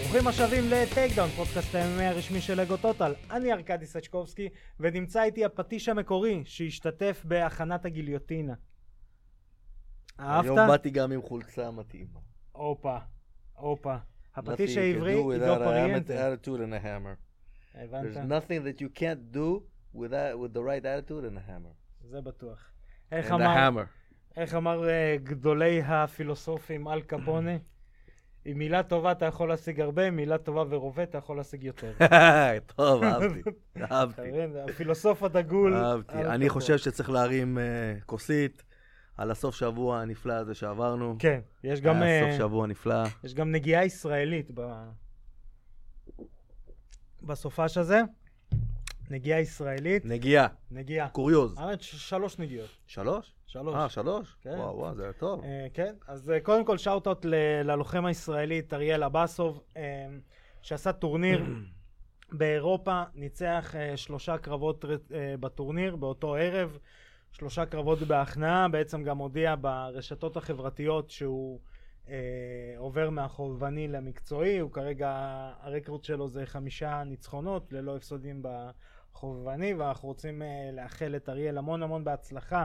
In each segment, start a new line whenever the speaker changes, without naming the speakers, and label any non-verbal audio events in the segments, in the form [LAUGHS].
ברוכים השבים לטייק דאון, פודקאסט הימי הרשמי של לגו טוטל. אני ארקדי סצ'קובסקי, ונמצא איתי הפטיש המקורי שהשתתף בהכנת הגיליוטינה.
היום
אהבת?
באתי גם עם חולצה מתאימה.
הופה, הופה.
Nothing you
הפטיש
can
העברי,
do
עידו
without a hammer-
פריאנטה.
attitude and a hammer.
אה,
There's
הבנת?
nothing that you can't do without with the right attitude and a hammer.
זה בטוח. איך
And a
אמר-
hammer.
איך אמר אה, גדולי הפילוסופים אל קפונה? עם מילה טובה אתה יכול להשיג הרבה, עם מילה טובה ורובה אתה יכול להשיג
[LAUGHS]
יותר.
[LAUGHS] טוב,
[LAUGHS]
אהבתי,
אתה
אהבתי,
מבין? הפילוסוף הדגול.
אהבתי.
אל
אני
קפונה.
חושב שצריך להרים אה, כוסית על הסוף שבוע הנפלא הזה שעברנו.
כן, יש גם...
היה
אה,
סוף שבוע נפלא.
יש גם נגיעה ישראלית ב... בסופש הזה. נגיעה ישראלית.
נגיעה,
נגיעה.
קוריוז.
האמת, ש- שלוש נגיעות.
שלוש?
שלוש.
אה, שלוש?
כן.
וואו, וואו, זה היה טוב.
אה, כן, אז אה, קודם כל שאוט-אוט ל- ללוחם הישראלי אריאל עבאסוב, אה, שעשה טורניר באירופה, ניצח אה, שלושה קרבות ר- אה, בטורניר באותו ערב, שלושה קרבות בהכנעה, בעצם גם הודיע ברשתות החברתיות שהוא אה, עובר מהחובבני למקצועי, הוא כרגע, הרקורד שלו זה חמישה ניצחונות ללא הפסדים בחובבני, ואנחנו רוצים אה, לאחל את אריאל המון המון בהצלחה.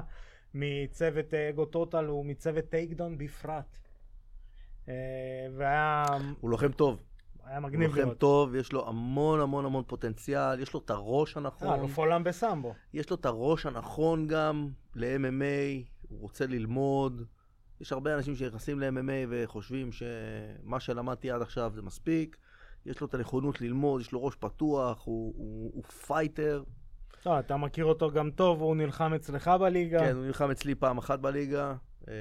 מצוות אה, אגו טוטל ומצוות טייקדון בפרט. אה, והיה
הוא לוחם טוב.
היה
הוא
מגניב
לוחם
לראות.
טוב, יש לו המון המון המון פוטנציאל, יש לו את הראש
אה,
הנכון.
אלוף עולם בסמבו.
יש לו את הראש הנכון גם ל-MMA, הוא רוצה ללמוד. יש הרבה אנשים שנכנסים ל-MMA וחושבים שמה שלמדתי עד עכשיו זה מספיק. יש לו את הנכונות ללמוד, יש לו ראש פתוח, הוא, הוא, הוא פייטר.
לא, אתה מכיר אותו גם טוב, הוא נלחם אצלך בליגה.
כן, הוא נלחם אצלי פעם אחת בליגה. אה,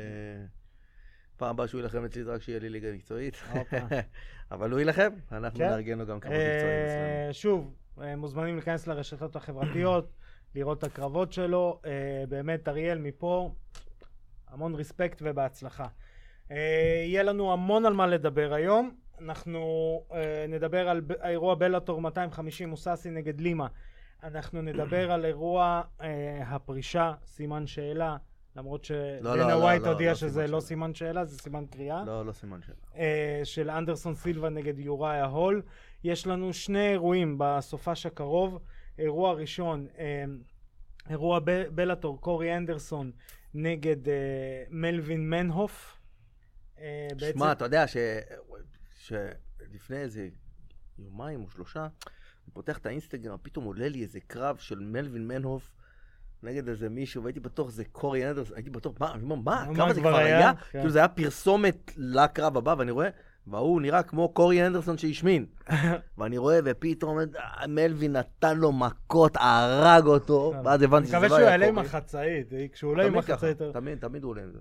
פעם הבאה שהוא יילחם אצלי זה רק שיהיה לי ליגה מקצועית.
הופה.
[LAUGHS] אבל הוא יילחם, אנחנו
כן.
נארגן לו גם כמה
אה,
מקצועים אצלנו.
שוב, אה, מוזמנים להיכנס לרשתות החברתיות, לראות את הקרבות שלו. אה, באמת, אריאל, מפה, המון רספקט ובהצלחה. אה, יהיה לנו המון על מה לדבר היום. אנחנו אה, נדבר על ב- האירוע בלאטור 250 מוססי נגד לימה. אנחנו נדבר על אירוע אה, הפרישה, סימן שאלה, למרות
לא,
שדנה
לא, לא,
ווייט
לא,
הודיע
לא
שזה
סימן
לא
שאלה.
סימן שאלה, זה סימן קריאה.
לא, לא סימן שאלה.
אה, של אנדרסון סילבה נגד יוראי ההול. יש לנו שני אירועים בסופש הקרוב. אירוע ראשון, אה, אירוע ב- בלאטור קורי אנדרסון נגד אה, מלווין מנהוף. אה, בעצם-
שמע, אתה יודע ש... שלפני איזה יומיים או שלושה, אני פותח את האינסטגרם, פתאום עולה לי איזה קרב של מלווין מנהוף נגד איזה מישהו, והייתי בטוח זה קורי אנדרס, הייתי בטוח, מה, אני אומר, מה,
מה,
הקרב הזה
כבר
כבר
היה?
היה?
כן.
כאילו זה היה פרסומת לקרב הבא, ואני רואה, וההוא נראה כמו קורי
[LAUGHS]
אנדרסון שהשמין. ואני רואה, ופתאום אה, מלווין נתן לו מכות, הרג אותו, ואז הבנתי שזה
כן. אני מקווה
לא
שהוא
היה
יעלה עם
קורי.
החצאית, אה, כשהוא עולה עם
תמיד ככה,
החצאית...
תמיד, תמיד הוא עולה עם זה.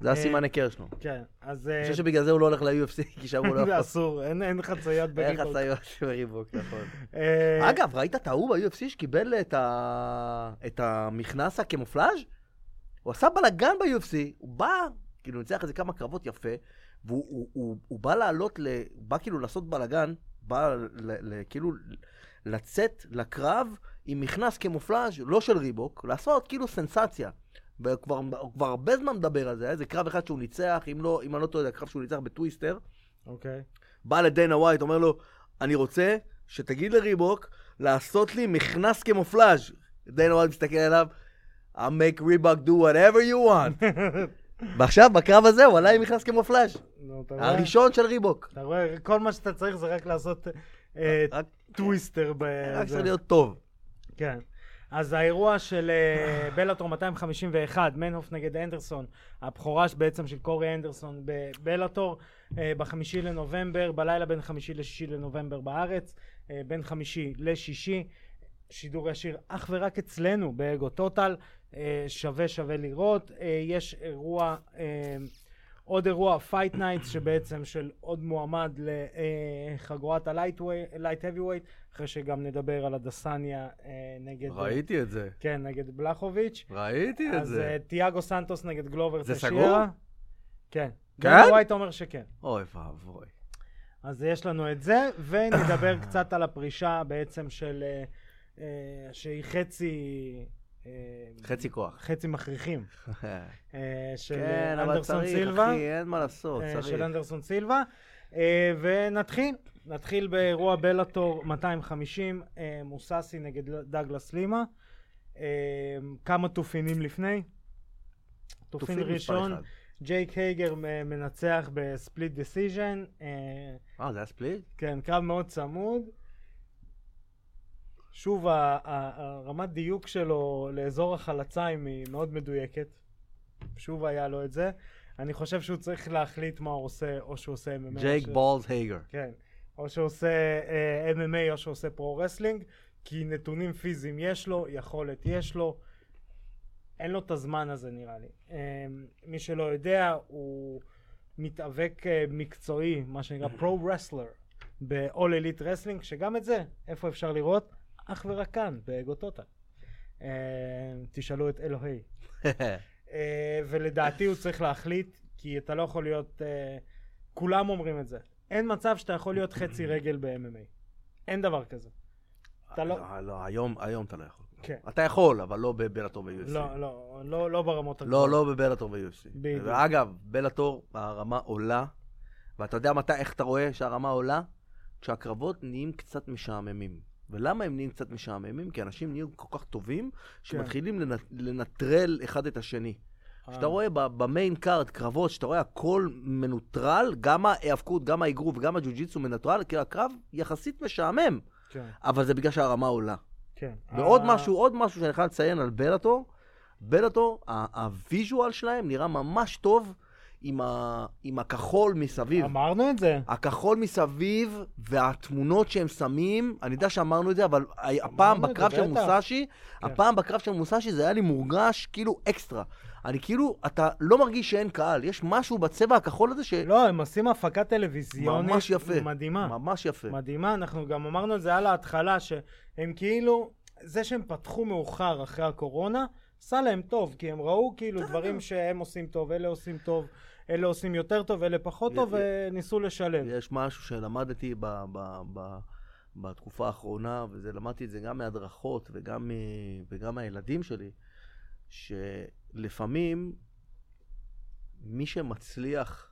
זה הסימן היכר שלו.
כן, אז...
אני
אה,
חושב שבגלל זה הוא לא הולך ל-UFC, כי שם הוא
[LAUGHS]
לא
זה
יכול.
אסור, אין אין חצאיות
אין
בריבוק.
חציות בריבוק, נכון.
אה,
אגב, ראית את ההוא ב-UFC שקיבל את ה- את המכנס הקמופלאז'? הוא עשה בלאגן ב-UFC, הוא בא, כאילו, ניצח איזה כמה קרבות יפה, והוא הוא- הוא- הוא בא לעלות, ל- הוא בא כאילו לעשות בלאגן, בא ל- ל- כאילו לצאת לקרב עם מכנס קמופלאז' לא של ריבוק, לעשות כאילו סנסציה. והוא כבר- הוא כבר הרבה זמן מדבר על זה, היה איזה קרב אחד שהוא ניצח, אם לא- אם אני לא טועה, זה הקרב שהוא ניצח בטוויסטר. [LAUGHS]
אוקיי.
בא לדנה ווייט, אומר לו, אני רוצה שתגיד לריבוק לעשות לי מכנס כמופלאז'. דנה ווייט מסתכל עליו, I make Reebok do whatever you want.
[LAUGHS]
ועכשיו, בקרב הזה, הוא עלה עם מכנס כמופלאז'.
נו, אתה רואה?
הראשון של ריבוק.
אתה רואה? כל מה שאתה צריך זה רק לעשות אה,
רק
טוויסטר. ב-
רק
אה, זה.
צריך להיות טוב.
כן. אז האירוע של אה, בלאטור 251, מנהוף נגד אנדרסון, הבכורה בעצם של קורי אנדרסון בבלאטור, אה, בחמישי לנובמבר, בלילה בין חמישי לשישי לנובמבר בארץ, אה, בין חמישי לשישי, שידור ישיר אך ורק אצלנו באגו טוטל, אה, שווה שווה לראות. אה, יש אירוע, אה, עוד אירוע פייט נייטס שבעצם של עוד מועמד אה, לחגורת הלייט האביווייט, אחרי שגם נדבר על הדסניה אה, נגד...
את זה,
כן, נגד בלחוביץ'.
ראיתי
אז אה, תיאגו סנטוס נגד גלובר
זה
תשירה.
סגור?
כן.
כן?
דנה ווייט אומר שכן.
אוי ואבוי.
אז יש לנו את זה, ונדבר
[LAUGHS]
קצת על הפרישה בעצם של... אה, אה, שהיא חצי... אה,
חצי כוח.
חצי מכריחים. אה, של
כן,
אה,
אבל
אנדרסון
צריך,
סילבה.
אחי, אין מה לעשות,
אה, של
צריך.
אנדרסון סילבה. אה, ונתחיל נתחיל באירוע בלאטור 250, אה, מוססי נגד דגלס לימה. אה, כמה תופינים לפני. תופין
תופיל מספר
ראשון,
אחד.
ג'ייק הייגר אה, מנצח בספליט דיסיז'ן. אה,
אה, זה היה ספליט?
כן, קרב מאוד צמוד. שוב, ה- ה- הרמת דיוק שלו לאזור החלציים היא מאוד מדויקת. שוב היה לו את זה. אני חושב שהוא צריך להחליט מה הוא עושה, או שהוא עושה MMA.
ג'ייק
ש-
בולס הייגר.
כן. או שהוא עושה אה, MMA או שהוא עושה פרו-רסלינג, כי נתונים פיזיים יש לו, יכולת יש לו. אין לו את הזמן הזה נראה לי. אה, מי שלא יודע, הוא מתאבק אה, מקצועי, מה שנקרא פרו-רסלר, ב-all elite wrestling, שגם את זה, איפה אפשר לראות? אך ורק כאן, בגוטוטה. אה, תשאלו את אלוהי. אה, ולדעתי הוא צריך להחליט, כי אתה לא יכול להיות... אה, כולם אומרים את זה. אין מצב שאתה יכול להיות חצי רגל ב-MMA. אין דבר כזה. אתה לא...
אה, לא, היום, היום אתה לא יכול.
כן.
אתה יכול, אבל לא בבלאטור ב-UFC.
לא, לא, לא, לא ברמות
לא, לא בבלאטור ב-UFC.
בדיוק.
ואגב, בלאטור, הרמה עולה, ואתה יודע מתי, איך אתה רואה שהרמה עולה? כשהקרבות נהיים קצת משעממים. ולמה הם נהיים קצת משעממים? כי אנשים נהיו כל כך טובים,
כן.
שמתחילים לנ- לנטרל אחד את השני.
אה.
כשאתה רואה ב- במיין קארד קרבות, שאתה רואה הכל מנוטרל, גם ההיאבקות, גם האגרוף וגם הג'ו-ג'יצו מנוטרל, כי הקרב יחסית משעמם,
כן,
אבל זה בגלל שהרמה עולה.
כן.
ועוד
ה-
משהו, עוד משהו שאני חייב לציין על בלאטור, בלאטור, ה- הוויז'ואל שלהם נראה ממש טוב עם, ה, עם הכחול מסביב.
אמרנו את זה.
הכחול מסביב והתמונות שהם שמים, אני יודע שאמרנו את זה, אבל ה- הפעם
את זה,
בקרב של
בטח.
מוסאשי,
כן.
הפעם בקרב של מוסאשי זה היה לי מורגש כאילו אקסטרה. אני כאילו, אתה לא מרגיש שאין קהל, יש משהו בצבע הכחול הזה שממש
לא, הם עושים הפקה טלוויזיונית
אה, יפה.
מדהימה.
ממש יפה.
מדהימה, אנחנו גם אמרנו את זה על ההתחלה, שהם כאילו, זה שהם פתחו מאוחר אחרי הקורונה, עשה להם טוב, כי הם ראו כאילו דברים שהם עושים טוב, אלה עושים טוב, אלה עושים יותר טוב, אלה פחות
י-
טוב,
י-
וניסו לשלב.
יש משהו שלמדתי ב, ב, ב, בתקופה האחרונה, ולמדתי את זה גם מהדרכות וגם, מ- וגם מהילדים שלי, שלפעמים מי שמצליח,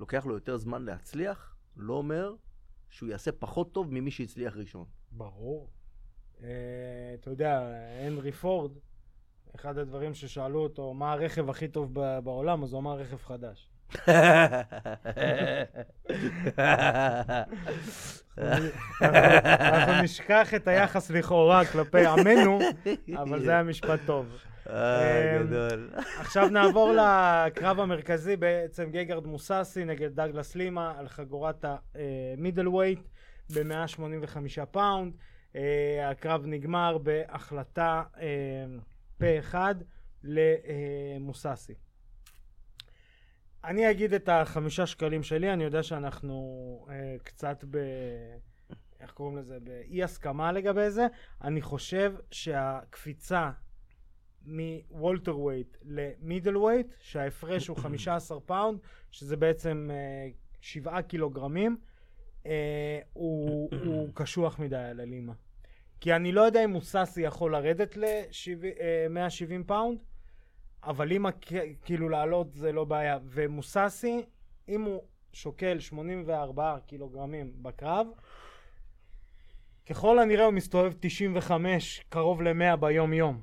לוקח לו יותר זמן להצליח, לא אומר שהוא יעשה פחות טוב ממי שהצליח ראשון.
ברור. אה, אתה יודע, הנרי פורד, אחד הדברים ששאלו אותו, מה הרכב הכי טוב ב- בעולם, אז הוא אמר רכב חדש. אנחנו נשכח את היחס לכאורה כלפי
[LAUGHS]
עמנו, אבל זה היה משפט טוב.
אה, גדול.
עכשיו נעבור לקרב המרכזי, בעצם גייגרד מוססי נגד דגלס לימה על חגורת המידל ווייט ב-185 פאונד. אה, הקרב נגמר בהחלטה אה, פה אחד למוססי. אני אגיד את החמישה שקלים שלי, אני יודע שאנחנו אה, קצת ב... איך קוראים לזה? באי הסכמה לגבי זה. אני חושב שהקפיצה מוולטר ווייט למידל ווייט, שההפרש הוא 15 פאונד, שזה בעצם אה, 7 קילוגרמים, אה, הוא, הוא קשוח מדי על הלימה. כי אני לא יודע אם מוססי יכול לרדת ל-170 פאונד, אבל לימה כ- כאילו לעלות זה לא בעיה. ומוססי, אם הוא שוקל 84 קילוגרמים בקרב, ככל הנראה הוא מסתובב 95, קרוב ל-100 ביום-יום.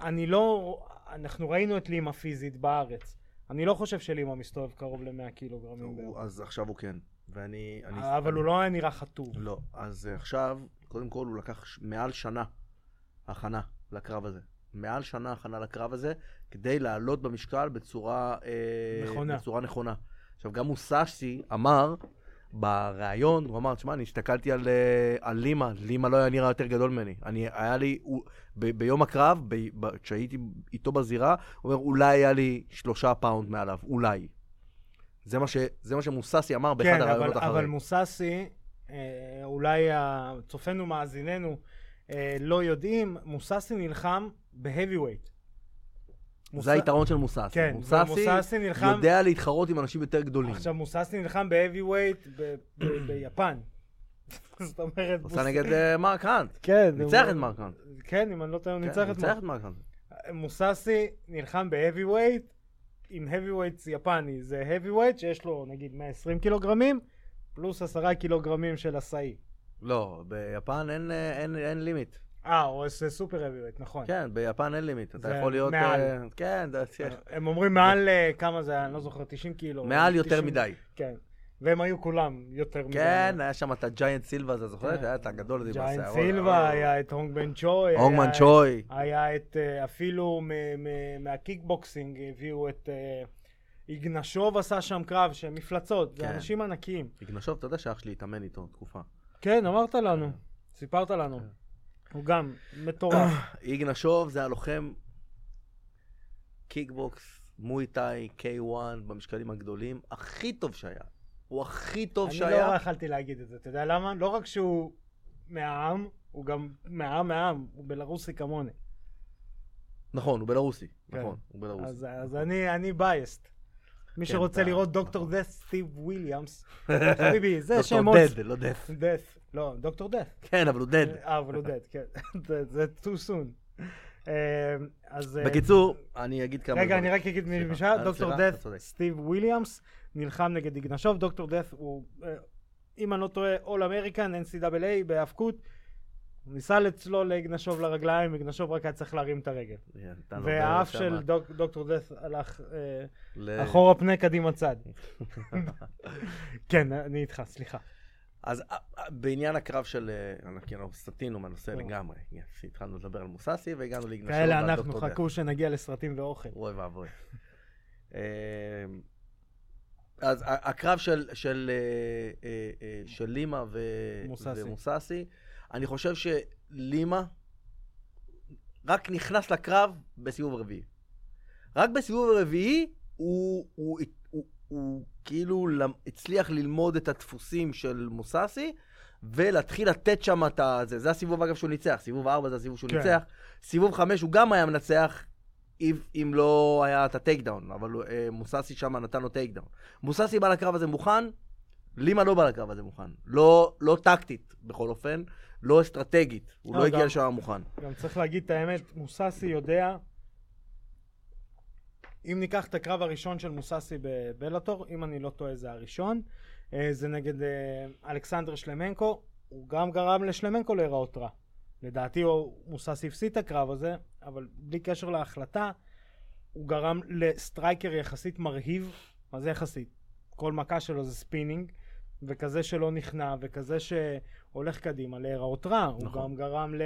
אני לא... אנחנו ראינו את לימה פיזית בארץ. אני לא חושב שלימה מסתובב קרוב ל-100 קילוגרמים ביום.
הוא- אז עכשיו הוא כן. ואני... אני-
אמ, אבל הוא לא היה נראה חטוב.
לא, אז אה, עכשיו, קודם כל הוא לקח ש- מעל שנה הכנה לקרב הזה. מעל שנה הכנה לקרב הזה, כדי לעלות במשקל בצורה... אה,
נכונה.
בצורה נכונה. עכשיו, גם מוסאשי אמר בריאיון, הוא אמר, תשמע, אני הסתכלתי על, אה, על לימה, לימה לא היה נראה יותר גדול ממני. אני, היה לי, הוא, ב, ביום הקרב, ב, ב, כשהייתי איתו בזירה, הוא אומר, אולי היה לי שלושה פאונד מעליו, אולי. זה מה, ש, זה מה שמוססי אמר באחד
כן, אבל,
הראיונות
אבל
אחרי.
מוססי, אה, אולי צופינו מאזיננו אה, לא יודעים, מוססי נלחם ב-heavyweight. מוס-
זה היתרון של מוססי.
כן,
מוססי
ומוססי נלחם-
יודע להתחרות עם אנשים יותר גדולים.
עכשיו, מוססי נלחם ב-heavyweight ב-
[CLEARS THROAT]
ב- ביפן. [LAUGHS] זאת אומרת...
הוא עשה
מוס-
נגד אה, מרק האנט.
כן,
ניצח
הוא-
את מרק האנט.
כן, אם אני לא טועה, הוא ניצח את מרק.
מרק האנט.
מוססי נלחם ב-heavyweight, עם heavyweight יפני. זה heavyweight שיש לו נגיד 120 קילוגרמים, פלוס עשרה קילוגרמים של עשאי.
לא, ביפן אין, אה, אין, אין לימיט.
אה, או זה סופר אביווייט, נכון.
כן, ביפן אין לימיט. אתה
זה
יכול להיות...
מעל.
אה, כן, זה-
הם אומרים מעל אה, כמה זה היה, אני לא זוכר, 90 קילו.
מעל יותר
90,
מדי.
כן. והם היו כולם יותר מדי.
כן, היה שם את הג'יינט סילבה הזה, זוכר?
כן.
היה את הגדול הזה עם
ג'יינט
השיער.
סילבה, היה את הונג בן צ'וי.
הונגמן
היה-
צ'וי.
היה את, אה, אפילו מ- מ- מהקיקבוקסינג הביאו את... אה, איגנשוב עשה שם קרב, שהם מפלצות, זה
כן.
אנשים ענקיים.
יגנשוב, אתה יודע שאח שלי התאמן איתו תקופה.
כן, אמרת לנו, סיפרת לנו.
כן.
הוא גם מטורף.
יגנשוב זה הלוחם קיקבוקס, מויטאי, K1, במשקלים הגדולים, הכי טוב שהיה. הוא הכי [COUGHS] טוב
אני לא
שהיה.
יכלתי להגיד את זה, אתה יודע למה? לא רק שהוא מהעם, הוא גם מהעם מהעם, הוא בלרוסי כמוני.
נכון, הוא בלרוסי.
כן.
נכון, הוא בלרוסי.
אז אז אני אני biased. מי
כן,
שרוצה
אתה-
לראות דוקטור דף סטיב
[LAUGHS]
וויליאמס, חביבי, זה
דוקטור
שם עוד...
דד, לא דף.
דף. לא, דוקטור דף.
כן, אבל הוא דד.
אה, אבל הוא דד, כן. [LAUGHS] זה- זה too soon. אה, אז... אה,
בקיצור, אני אגיד כמה...
רגע,
דברים.
אני רק אגיד
סליחה.
משעה,
אה,
דוקטור
סליחה, אתה
דף,
צודק.
סטיב וויליאמס, נלחם נגד איגנשוב, דוקטור דף הוא, אה, אם אני לא טועה, אול אמריקן, NCAA בהאבקות, הוא ניסה לצלול לאיגנשוב לרגליים, איגנשוב רק היה צריך להרים את הרגל.
כן, נתן לו
והאף
שם
של דוק- דוקטור דף הלך אה,
ל-
אחורה פנה קדימה
[LAUGHS]
צד. כן, אני איתך, סליחה.
אז אה, אה, בעניין הקרב של... אה, אנחנו- כי אנחנו סטינו מהנושא
לא.
לגמרי. התחלנו לדבר על מוססי והגענו ליגנשוב.
כאלה
ועל
אנחנו,
דוקטור דף.
חכו שנגיע לסרטים ואוכל.
אוי ואבוי. אמ, אז ה- הקרב של, של, אה, אה, אה, של לימה ו...
מוססי.
ומוססי, אני חושב שלימה רק נכנס לקרב בסיבוב רביעי. רק בסיבוב הרביעי הוא, הוא, הוא, הוא, הוא כאילו למ- הצליח ללמוד את הדפוסים של מוססי ולהתחיל לתת שם את ה... זה, זה הסיבוב אגב שהוא ניצח, סיבוב 4 זה הסיבוב שהוא
כן.
ניצח, סיבוב 5 הוא גם היה מנצח אם, אם לא היה את הטייק דאון, אבל אה, מוססי שם נתן לו טייק דאון. מוססי בא לקרב הזה מוכן, לימה לא בא לקרב הזה מוכן. לא, לא טקטית בכל אופן, לא אסטרטגית, הוא
לא,
לא הגיע
גם-
לשם מוכן.
גם צריך להגיד את האמת, מוססי יודע, אם ניקח את הקרב הראשון של מוססי בבלאטור, אם אני לא טועה זה הראשון, אה, זה נגד אה, אלכסנדר שלמנקו, הוא גם גרם לשלמנקו להיראות רע. לדעתי הוא- מוססי הפסיד את הקרב הזה, אבל בלי קשר להחלטה, הוא גרם לסטרייקר יחסית מרהיב, מה זה יחסית? כל מכה שלו זה ספינינג, וכזה שלא נכנע, וכזה שהולך קדימה להיראות רע,
נכון.
הוא גם גרם ל...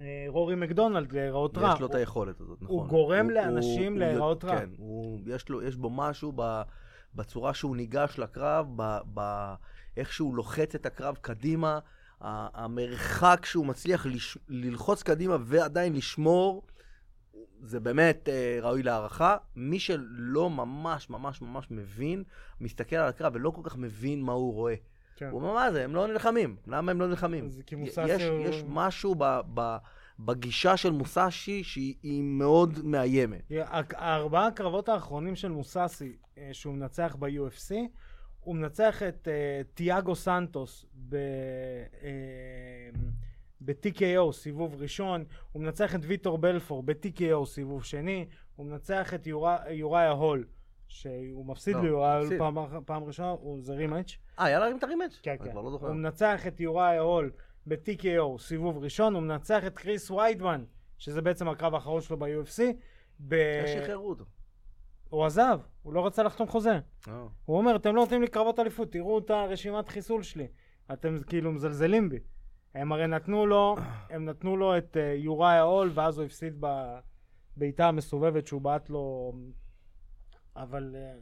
אה, רורי מקדונלד להיראות רע.
יש לו את היכולת הזאת, נכון.
גורם לאנשים
הוא-
להיראות רע.
כן, הוא, יש, לו, יש בו משהו ב, בצורה שהוא ניגש לקרב, ב, ב, איך שהוא לוחץ את הקרב קדימה, ה- המרחק שהוא מצליח לש, ללחוץ קדימה ועדיין לשמור, זה באמת אה, ראוי להערכה. מי שלא ממש ממש ממש מבין, מסתכל על הקרב ולא כל כך מבין מה הוא רואה.
כן.
הוא אומר, מה זה, הם לא נלחמים. למה הם לא נלחמים?
אז כי
י-
מוסאשי
יש,
הוא-
יש משהו ב, ב, בגישה של מוסאשי שהיא היא מאוד מאיימת.
הק- הארבעה הקרבות האחרונים של מוססי, אה, שהוא מנצח ב-UFC, הוא מנצח את אה, תיאגו סנטוס ב... אה, ב-TKO סיבוב ראשון, הוא מנצח את ויטור בלפור ב-TKO סיבוב שני, הוא מנצח את יורא- יוראי ההול, שהוא מפסיד
לא,
ליוראי ההול
מפסיד.
פעם אח- פעם ראשונה, הוא זה רימאץ'.
אה, היה להרים את הרימץ'?
כן,
אני
כן.
כבר לא זוכר.
הוא מנצח את יוראי הול ב-TKO, סיבוב ראשון, הוא מנצח את קריס ויידמן, שזה בעצם הקרב האחרון שלו ב-UFC. ב...
איך שחררו אותו?
הוא עזב, הוא לא רצה לחתום חוזה.
אה.
הוא אומר, אתם לא נותנים לי קרבות אליפות, תראו את הרשימת חיסול שלי. אתם כאילו מזלזלים בי. הם הרי נתנו לו, הם נתנו לו את אה, יוראי ההול, ואז הוא הפסיד בבעיטה המסובבת שהוא בעט לו, אבל אה,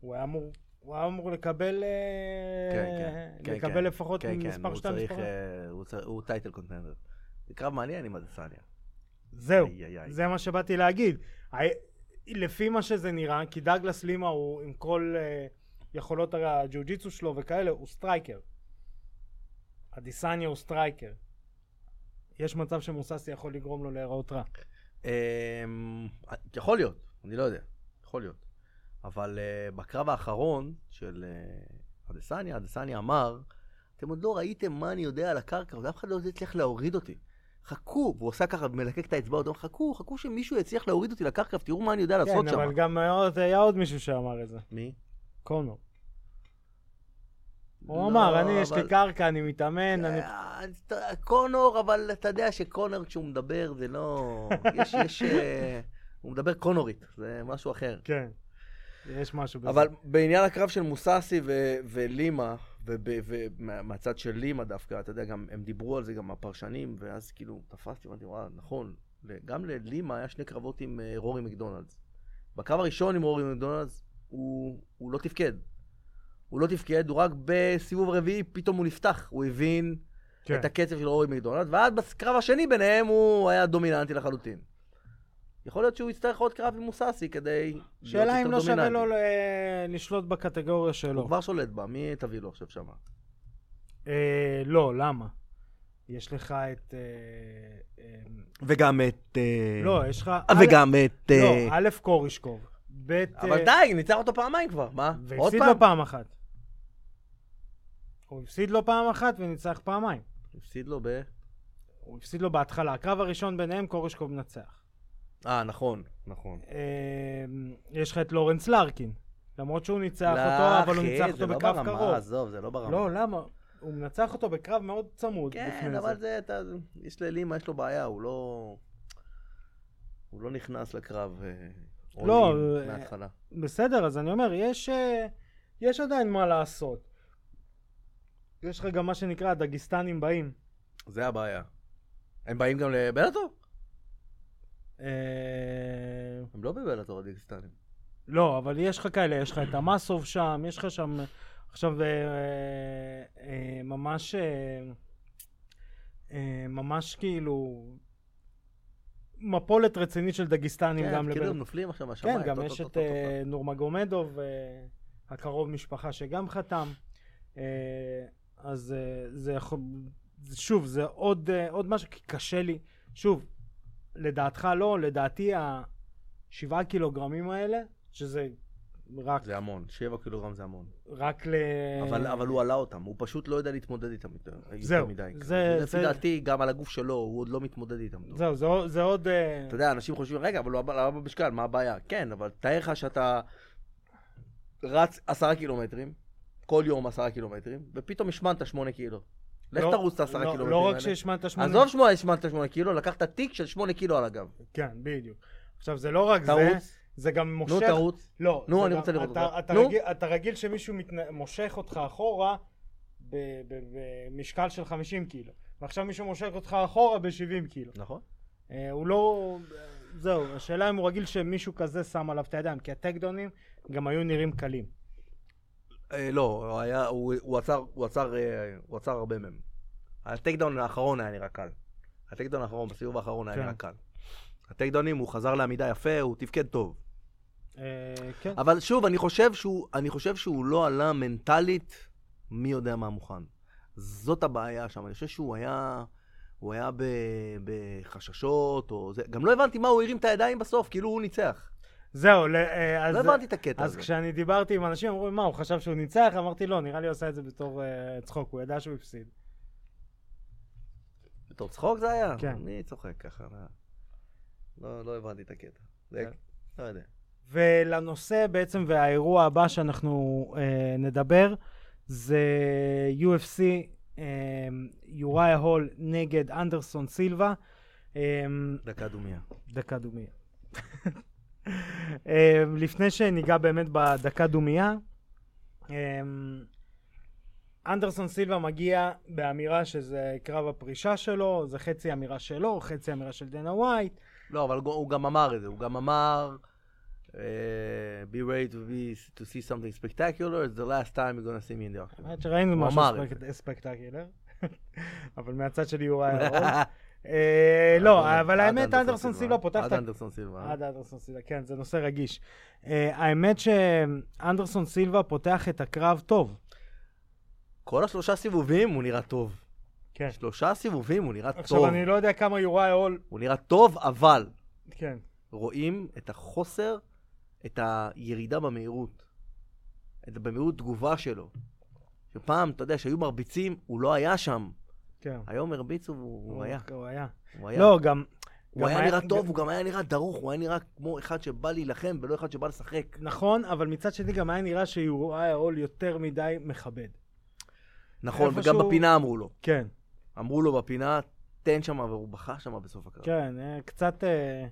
הוא היה אמור, הוא היה אמור לקבל, אה,
כן, כן, כן,
לקבל
כן.
לפחות
כן, כן,
מספר
הוא
שתיים
צריך,
מספר.
אה, הוא צריך- הוא טייטל קונטנדר. זה קרב מעניין עם אדסניה.
זהו,
איי, איי, איי.
זה מה שבאתי להגיד. ה- לפי מה שזה נראה, כי דאגלס לימה הוא עם כל אה, יכולות הרי הג'ו-ג'יצו שלו וכאלה, הוא סטרייקר. אדיסניה הוא סטרייקר. יש מצב שמוססי יכול לגרום לו להיראות רע.
אמ, יכול להיות, אני לא יודע, יכול להיות. אבל אה, בקרב האחרון של אה, אדסניה, אדסניה אמר, אתם עוד לא ראיתם מה אני יודע על הקרקע, ואף אחד לא הצליח להוריד אותי. חכו, והוא עושה ככה, מלקק את האצבעות, הוא אומר, חכו, חכו שמישהו יצליח להוריד אותי לקרקע, ותראו מה אני יודע לעשות
כן,
שם.
אבל גם היה עוד- היה עוד מישהו שאמר את זה,
מי?
קונור. הוא
לא,
אמר, אני, יש
אבל-
לי קרקע, אני מתאמן, אני...
אה, אתה- קונור, אבל אתה יודע שקונור כשהוא מדבר זה לא... יש, יש... אה, הוא מדבר קונורית, זה משהו אחר.
כן. יש משהו בזה.
אבל בעניין הקרב של מוססי ו- ולימה, ומהצד של לימה דווקא, אתה יודע, גם הם דיברו על זה, גם הפרשנים, ואז כאילו תפסתי, אמרתי, וואלה, נכון, ל- גם ללימה היה שני קרבות עם אה, רורי מקדונלדס. בקרב הראשון עם רורי מקדונלדס, הוא, הוא לא תפקד. הוא לא תפקד, הוא רק בסיבוב רביעי, פתאום הוא נפתח, הוא הבין
כן.
את הקצב של אורי מקדונלד, ואז בקרב השני ביניהם הוא היה דומיננטי לחלוטין. יכול להיות שהוא יצטרך עוד קרב עם מוססי כדי להיות
שאלה אם
יותר
לא שווה
דומיננטי.
לו ל- לשלוט בקטגוריה
הוא
שלו.
כבר שולט בה, מי תביא לו עכשיו שמה?
אה, לא, למה? יש לך את... אה, אה,
וגם את... אה,
לא, יש לך...
את... אה,
לא, א', קורישקוב. ב',
אבל
אה,
די, ניצח אותו פעמיים כבר, מה? עוד
והפסיד
פעם?
לו פעם אחת. הוא הפסיד לו פעם אחת וניצח פעמיים.
הפסיד לו ב...
הוא הפסיד לו בהתחלה. הקרב הראשון ביניהם, קורישקוב מנצח.
אה, נכון, נכון.
אה, יש לך את לורנס לארקין. למרות שהוא ניצח אותו, אבל הוא
אחי,
ניצח אותו בקרב
זה לא
קרוב.
ברמה, עזוב, זה לא ברמה.
לא, למה? הוא מנצח אותו בקרב מאוד צמוד.
כן,
לפני
אבל זה, אתה... יש ללימה, יש לו בעיה, הוא לא... הוא לא נכנס לקרב... אה,
לא,
all in
אה,
מההתחלה.
בסדר, אז אני אומר, יש, אה, יש עדיין מה לעשות. יש לך גם מה שנקרא הדגיסטנים באים.
זה הבעיה. הם באים גם לבלאטור?
אה,
הם לא בבלאטור הדגיסטנים.
לא, אבל יש לך כאלה, יש לך את המאסוב שם, יש לך שם... עכשיו, אה, אה, ממש... אה, אה, ממש כאילו... מפולת רצינית של דגיסטנים
כן,
גם
כאילו
לבלאטור.
הם נופלים עכשיו מהשמיים.
כן, גם
טוב,
יש
טוב,
את
טוב, טוב, טוב.
אה, נורמגומדוב, אה, הקרוב משפחה שגם חתם. אה, אז אה, זה יכול... זה- שוב, זה עוד אה, עוד משהו, כי קשה לי. שוב, לדעתך לא, לדעתי השבעה קילוגרמים האלה, שזה רק
זה המון, 7 קילוגרם זה המון.
רק ל...
אבל, אבל הוא עלה אותם, הוא פשוט לא יודע להתמודד איתם יותר, יותר
אה. זהו,
מדי. כאילו,
זה-
לפי
זה-
דעתי, גם על הגוף שלו, הוא עוד לא מתמודד איתם. טוב.
זהו, זה עוד- זה עוד... אה,
אתה יודע, אנשים חושבים, רגע, אבל הוא עלה עלה במשקל, מה הבעיה? כן, אבל תאר לך שאתה רץ עשרה קילומטרים, כל יום עשרה קילומטרים, ופתאום השמנת שמונה קילו. לך
לא-
תרוץ את העשרה
לא-
קילומטרים
לא רק
האלה.
שהשמנת שמונה...
עזוב שמונה, השמנת שמונה קילו, לקחת תיק של שמונה קילו על הגב.
כן, בדיוק. עכשיו, זה לא רק זה,
תרוץ,
זה גם מושך...
נו תרוץ.
לא.
נו,
זה
אני
גם-
רוצה לראות
אתה-
אותך.
אתה
נו.
רגיל- אתה רגיל שמישהו מתנ- מושך אותך אחורה ב- ב- במשקל של 50 קילו, ועכשיו מישהו מושך אותך אחורה ב-70 קילו.
נכון.
אה, הוא לא... זהו, השאלה אם הוא רגיל שמישהו כזה שם עליו את הידיים, כי הטקדונים גם היו נראים קלים.
אה, לא, הוא היה- הוא הוא עצר, הוא עצר, אה, הוא עצר הרבה מהם. הטקדאון האחרון היה נראה קל. הטקדאון האחרון, בסיבוב האחרון היה
כן.
נראה קל. הטקדאונים, הוא חזר לעמידה יפה, הוא תפקד טוב.
אה, כן.
אבל שוב, אני חושב שהוא, אני חושב שהוא לא עלה מנטלית מי יודע מה מוכן. זאת הבעיה שם. אני חושב שהוא היה, הוא היה ב, בחששות, או זה. גם לא הבנתי מה הוא הרים את הידיים בסוף, כאילו הוא ניצח.
זהו, ל- אה, אז...
לא הבנתי את הקטע
אז
הזה.
כשאני דיברתי עם אנשים, אמרו, לי, מה, הוא חשב שהוא ניצח? אמרתי, לא, נראה לי הוא עשה את זה בתור אה, צחוק, הוא ידע שהוא הפסיד.
בתור צחוק זה היה?
כן.
אני צוחק ככה. מה? לא, לא הבנתי את הקטע. זה,
כן.
לא יודע.
ולנושא בעצם והאירוע הבא שאנחנו אה, נדבר זה UFC אה, יוריה הול נגד אנדרסון סילבה. אה,
דקה דומייה.
דקה דומייה. אה, לפני שניגע באמת בדקה דומייה, אה, אנדרסון סילבה מגיע באמירה שזה קרב הפרישה שלו, זה חצי אמירה שלו, חצי אמירה של דנה ווייט.
לא, אבל הוא גם אמר את זה, הוא גם אמר... אה, be ready to, be, to see something spectacular, it's the last time you're gonna see me in the octagon.
האמת שראינו
הוא
משהו
אמר את
ספק- ספקטקולר, [LAUGHS] אבל מהצד שלי הוא
[LAUGHS]
היה רוב. אה, לא, אבל
עד
האמת, אנדרסון סילבה פותח את...
עד
ה-
אנדרסון סילבה.
עד אנדרסון סילבה, כן, זה נושא רגיש. אה, האמת שאנדרסון סילבה פותח את הקרב טוב.
כל השלושה סיבובים הוא נראה טוב.
כן.
שלושה סיבובים הוא נראה טוב.
עכשיו, אני לא יודע כמה יוראי אול...
הוא נראה טוב, אבל
כן.
רואים את החוסר, את הירידה במהירות. את במהירות תגובה שלו. שפעם, אתה יודע, שהיו מרביצים, הוא לא היה שם.
כן.
היום הרביצו והוא הוא היה.
הוא היה.
הוא היה.
לא, גם... גם
הוא היה נראה טוב,
גם-
הוא גם היה נראה דרוך, הוא היה נראה כמו אחד שבא להילחם ולא אחד שבא לשחק.
נכון, אבל מצד שני גם היה נראה שיוראי אול יותר מדי מכבד.
נכון, וגם
איפשהו-
בפינה אמרו לו.
כן,
אמרו לו בפינה, תן שם, והוא בכה שם בסוף הקרב.
כן, אה, קצת... אה,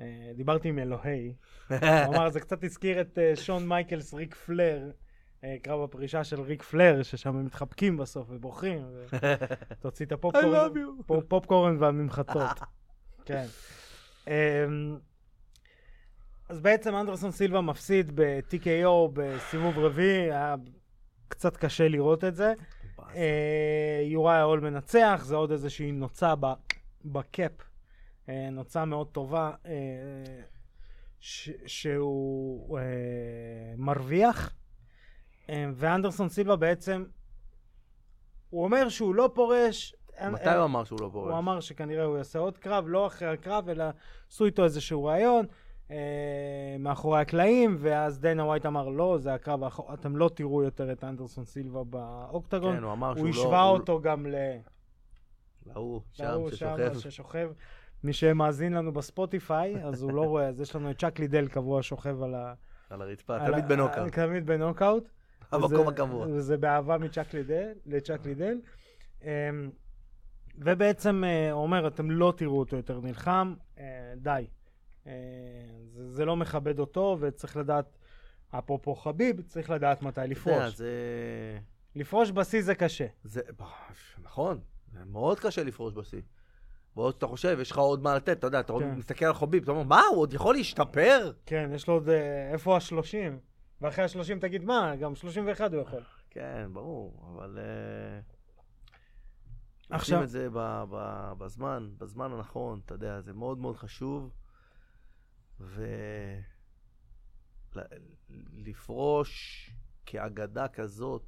אה, דיברתי עם אלוהי, הוא אמר, זה קצת הזכיר את אה, שון מייקלס, ריק פלר, אה, קרב הפרישה של ריק פלר, ששם הם מתחבקים בסוף ובוכים, ו- תוציא את הפופקורן,
[LAUGHS] I love you.
פופ- פופקורן והממחטות. כן. אמ, אז בעצם אנדרסון סילבה מפסיד ב-TKO בסיבוב רביעי, היה קצת קשה לראות את זה. אה, יוראי אול מנצח, זה עוד איזושהי נוצה ב- בקאפ, אה, נוצה מאוד טובה, אה, ש- שהוא אה, מרוויח, אה, ואנדרסון סילבה בעצם, הוא אומר שהוא לא פורש. אין-
מתי הוא אמר שהוא לא פורש?
אה, הוא אמר שכנראה הוא יעשה עוד קרב, לא אחרי הקרב, אלא עשו איתו איזשהו ראיון אה, מאחורי הקלעים, ואז דנה ווייט אמר, לא, זה הקרב האחרון, אתם לא תראו יותר את אנדרסון סילבה באוקטגון.
כן, הוא אמר שהוא
הוא
לא...
השווה
הוא-
אותו גם ל-
להוא, שם,
להוא שם
ששוכב.
ששוכב. מי שמאזין לנו בספוטיפיי, אז הוא לא רואה, אז יש לנו את צ'אק לידל קבוע שוכב על ה...
על הרצפה,
על
תמיד
ה- אה,
בנוקאאוט.
תמיד בנוקאוט.
המקום
וזה-
הקבוע.
וזה באהבה מצ'אק לידל, לצ'אק לידל. אמ, ובעצם אה, הוא אומר, אתם לא תראו אותו יותר נלחם, אה, די. אה, זה זה לא מכבד אותו, וצריך לדעת, אפרופו חביב, צריך לדעת מתי
אתה יודע,
לפרוש.
זה...
לפרוש בשיא זה קשה.
זה, נכון, זה מאוד קשה לפרוש בשיא. ועוד אתה חושב, יש לך עוד מה לתת, אתה יודע, אתה
כן.
מסתכל על חוביב, אתה אומר, מה, הוא עוד יכול להשתפר?
כן, יש לו עוד... אה, איפה השלושים? ואחרי השלושים תגיד, מה, גם שלושים ואחד הוא יכול.
כן, ברור, אבל... אה,
עכשיו-
עושים את זה ב- ב- בזמן, בזמן הנכון, אתה יודע, זה מאוד מאוד חשוב. ו... ל- לפרוש כאגדה כזאת,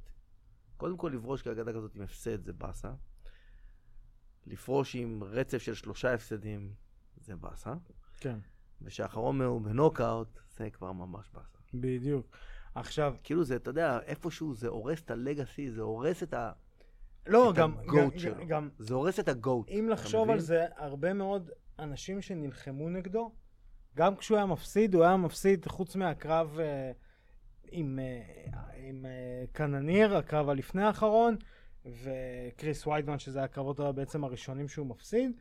קודם כל לפרוש כאגדה כזאת עם הפסד זה באסה. לפרוש עם רצף של שלושה הפסדים זה באסה.
כן,
ושהאחרון הוא בנוקאוט, זה כבר ממש באסה.
בדיוק. עכשיו,
כאילו זה, אתה יודע, איפשהו זה הורס את הלגאסי, זה הורס את ה...
לא,
את
גם, גם,
הגוט שלו.
גם,
זה הורס את הגוט.
אם
אתה
לחשוב על
מבין?
זה, הרבה מאוד אנשים שנלחמו נגדו, גם כשהוא היה מפסיד, הוא היה מפסיד חוץ מהקרב אה, עם, אה, עם אה, קנניר, הקרב הלפני האחרון, וקריס ויידמן, שזה הקרבות בעצם הראשונים שהוא מפסיד.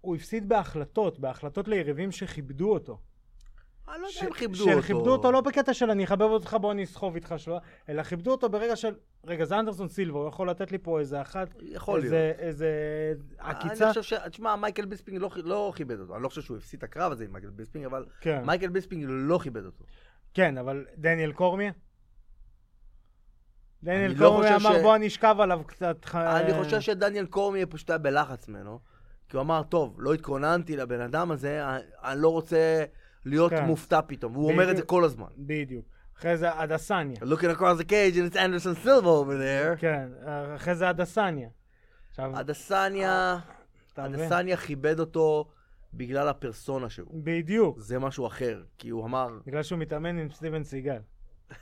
הוא הפסיד בהחלטות, בהחלטות ליריבים שכיבדו אותו.
אני לא
ש-
יודע אם כיבדו
של
אותו.
כיבדו אותו לא בקטע של אני אחבב אותך בוא אני אסחוב איתך שלו, אלא כיבדו אותו ברגע של, רגע זה אנדרסון סילבר, הוא יכול לתת לי פה איזה אחת,
יכול להיות.
איזה, איזה עקיצה.
אני חושב ש... תשמע, מייקל ביספינג לא, לא כיבד אותו. אני לא חושב שהוא הפסיד את הקרב הזה עם מייקל ביספינג, אבל
כן.
מייקל ביספינג לא כיבד אותו.
כן, אבל דניאל קורמיה? דניאל
אני לא
קורמיה
חושב
אמר
ש-
בוא אני אשכב עליו קצת. ח-
אני חושב שדניאל קורמי פשוט היה בלחץ ממנו, כי הוא אמר, טוב, לא התכוננתי לבן אדם הזה, אני- אני לא רוצה להיות
כן.
מופתע פתאום. הוא אומר את זה
בדיוק.
כל הזמן.
בדיוק. אחרי זה הדסניה.
Looking across the cage and it's Anderson Silva over there.
כן, אחרי זה הדסניה. עכשיו,
אדסניה,
אתה מבין?
אדסניה כיבד אותו בגלל הפרסונה שלו.
בדיוק.
זה משהו אחר, כי הוא אמר,
בגלל שהוא מתאמן עם סטיבן סיגל.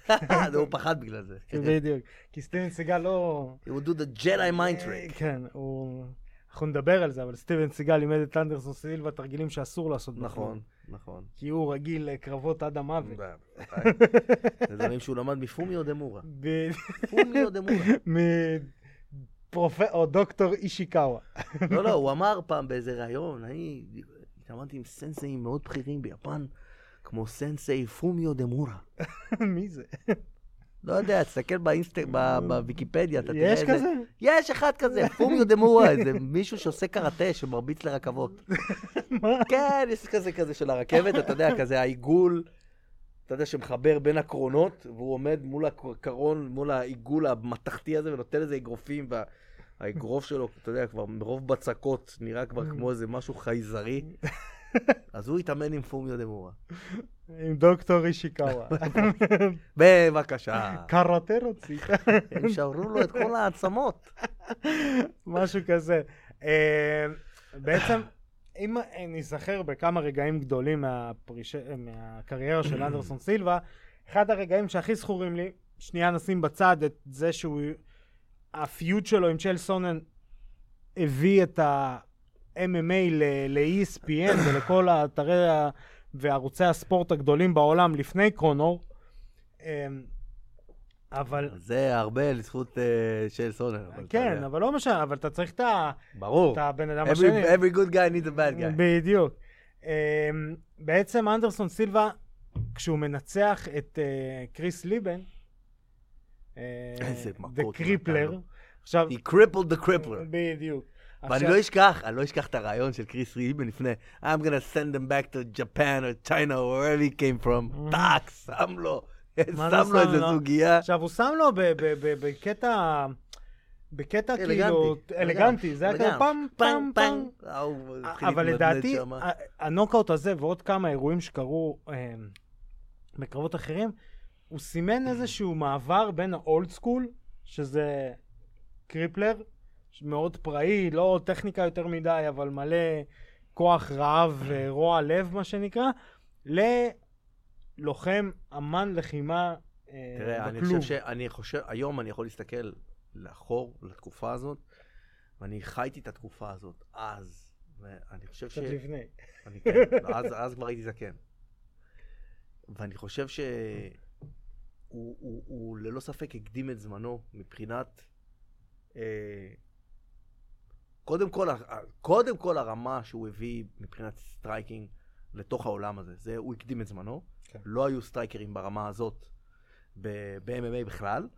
[LAUGHS] הוא פחד בגלל זה. כן,
בדיוק. כי סטיבן סיגל לא...
He would do the Jedi mind
אה,
trick.
כן, הוא... אנחנו נדבר על זה, אבל סטיבן סיגל לימד את אנדרסון סילבה תרגילים שאסור לעשות.
[LAUGHS] נכון,
בפלוג.
נכון.
כי הוא רגיל לקרבות עד המוות.
זה דברים שהוא למד מפומיו דמורה.
ב-
פומיו דמורה. [LAUGHS]
מפרופ... או דוקטור אישיקאווה. [LAUGHS]
לא, לא, הוא אמר פעם באיזה ראיון, אני התאמנתי עם סנסאים מאוד בכירים ביפן, כמו סנסאי פומיו דמורה.
מי זה?
לא יודע, תסתכל באינסט... [LAUGHS] ב- בוויקיפדיה, אתה תראה
יש
איזה...
כזה?
יש אחד כזה, פומיו דמורה, איזה מישהו שעושה קראטה שמרביץ לרכבות.
מה?
כן, יש כזה כזה של הרכבת, אתה יודע, כזה העיגול, אתה יודע, שמחבר בין הקרונות, והוא עומד מול הקרון, מול העיגול המתכתי הזה, ונותן איזה אגרופים, והאגרוף שלו, אתה יודע, כבר מרוב בצקות, נראה
Mm.
כבר כמו איזה משהו
[LAUGHS]
חייזרי. אז הוא התאמן עם פומיו דמורה.
עם דוקטור
[LAUGHS]
אישיקאווה. [LAUGHS]
בבקשה.
קראטה רצית?
הם שברו לו את כל העצמות.
משהו כזה. אה, בעצם, אם ניזכר בכמה רגעים גדולים מהפריש... מהקריירה של אנדרסון סילבה, אחד הרגעים שהכי זכורים לי, שנייה נשים בצד את זה שהוא... הפיוד שלו עם צ'ל סונן הביא את ה-MMA ל- ל-ESPN ולכל האתרי ה- וערוצי הספורט הגדולים בעולם לפני קרונור. אמ, אה, אבל...
זה הרבה לזכות אה, של סונן. אבל אתה
כן,
יודע.
אבל לא משנה, אבל אתה צריך את ה-
ברור.
את הבן אדם השני.
Every every good guy needs a bad guy.
בדיוק. אמ, בעצם אנדרסון סילבה, כשהוא מנצח את אה, קריס ליבן, אה,
איזה מכות
The
הוא נתן
Crippler,
לו.
עכשיו,
He crippled the crippler.
בדיוק.
ואני
עכשיו-
לא אשכח, אני לא אשכח את הרעיון של קריס ריבן לפני I'm gonna send him back to Japan or China or wherever he came from. טאק, שם לו.
Mm. מה
שם
זה
לו
שם
איזה
לו?
סוגיה.
עכשיו, הוא שם לו ב- ב- ב- בקטע... בקטע
אלגנטי.
כאילו אלגנטי, זה היה כאילו
אלגנטי.
פעם, פעם, פעם.
אה, הוא מתחיל
אבל
להתנדנד
לדעתי, אה,
שמה.
ה- הנוקאוט הזה ועוד כמה אירועים שקרו אה, בקרבות אחרים, הוא סימן איזשהו מעבר בין האולד סקול, שזה קריפלר, מאוד פראי, לא טכניקה יותר מדי, אבל מלא כוח רעב ורוע לב, מה שנקרא, ללוחם אמן לחימה אה,
תראה, אני
בכלוב.
חושב שאני חושב, היום אני יכול להסתכל לאחור, לתקופה הזאת, ואני חייתי את התקופה הזאת אז, ואני חושב ש...
קצת לפני.
אני כן, אז, אז כבר הייתי זקן. ואני חושב שהוא הוא, הוא ללא ספק הקדים את זמנו מבחינת... אה, קודם כל, ה- ה- קודם כל הרמה שהוא הביא מבחינת סטרייקינג לתוך העולם הזה. זה, הוא הקדים את זמנו.
כן.
לא היו סטרייקרים ברמה הזאת ב- ב-MMA בכלל.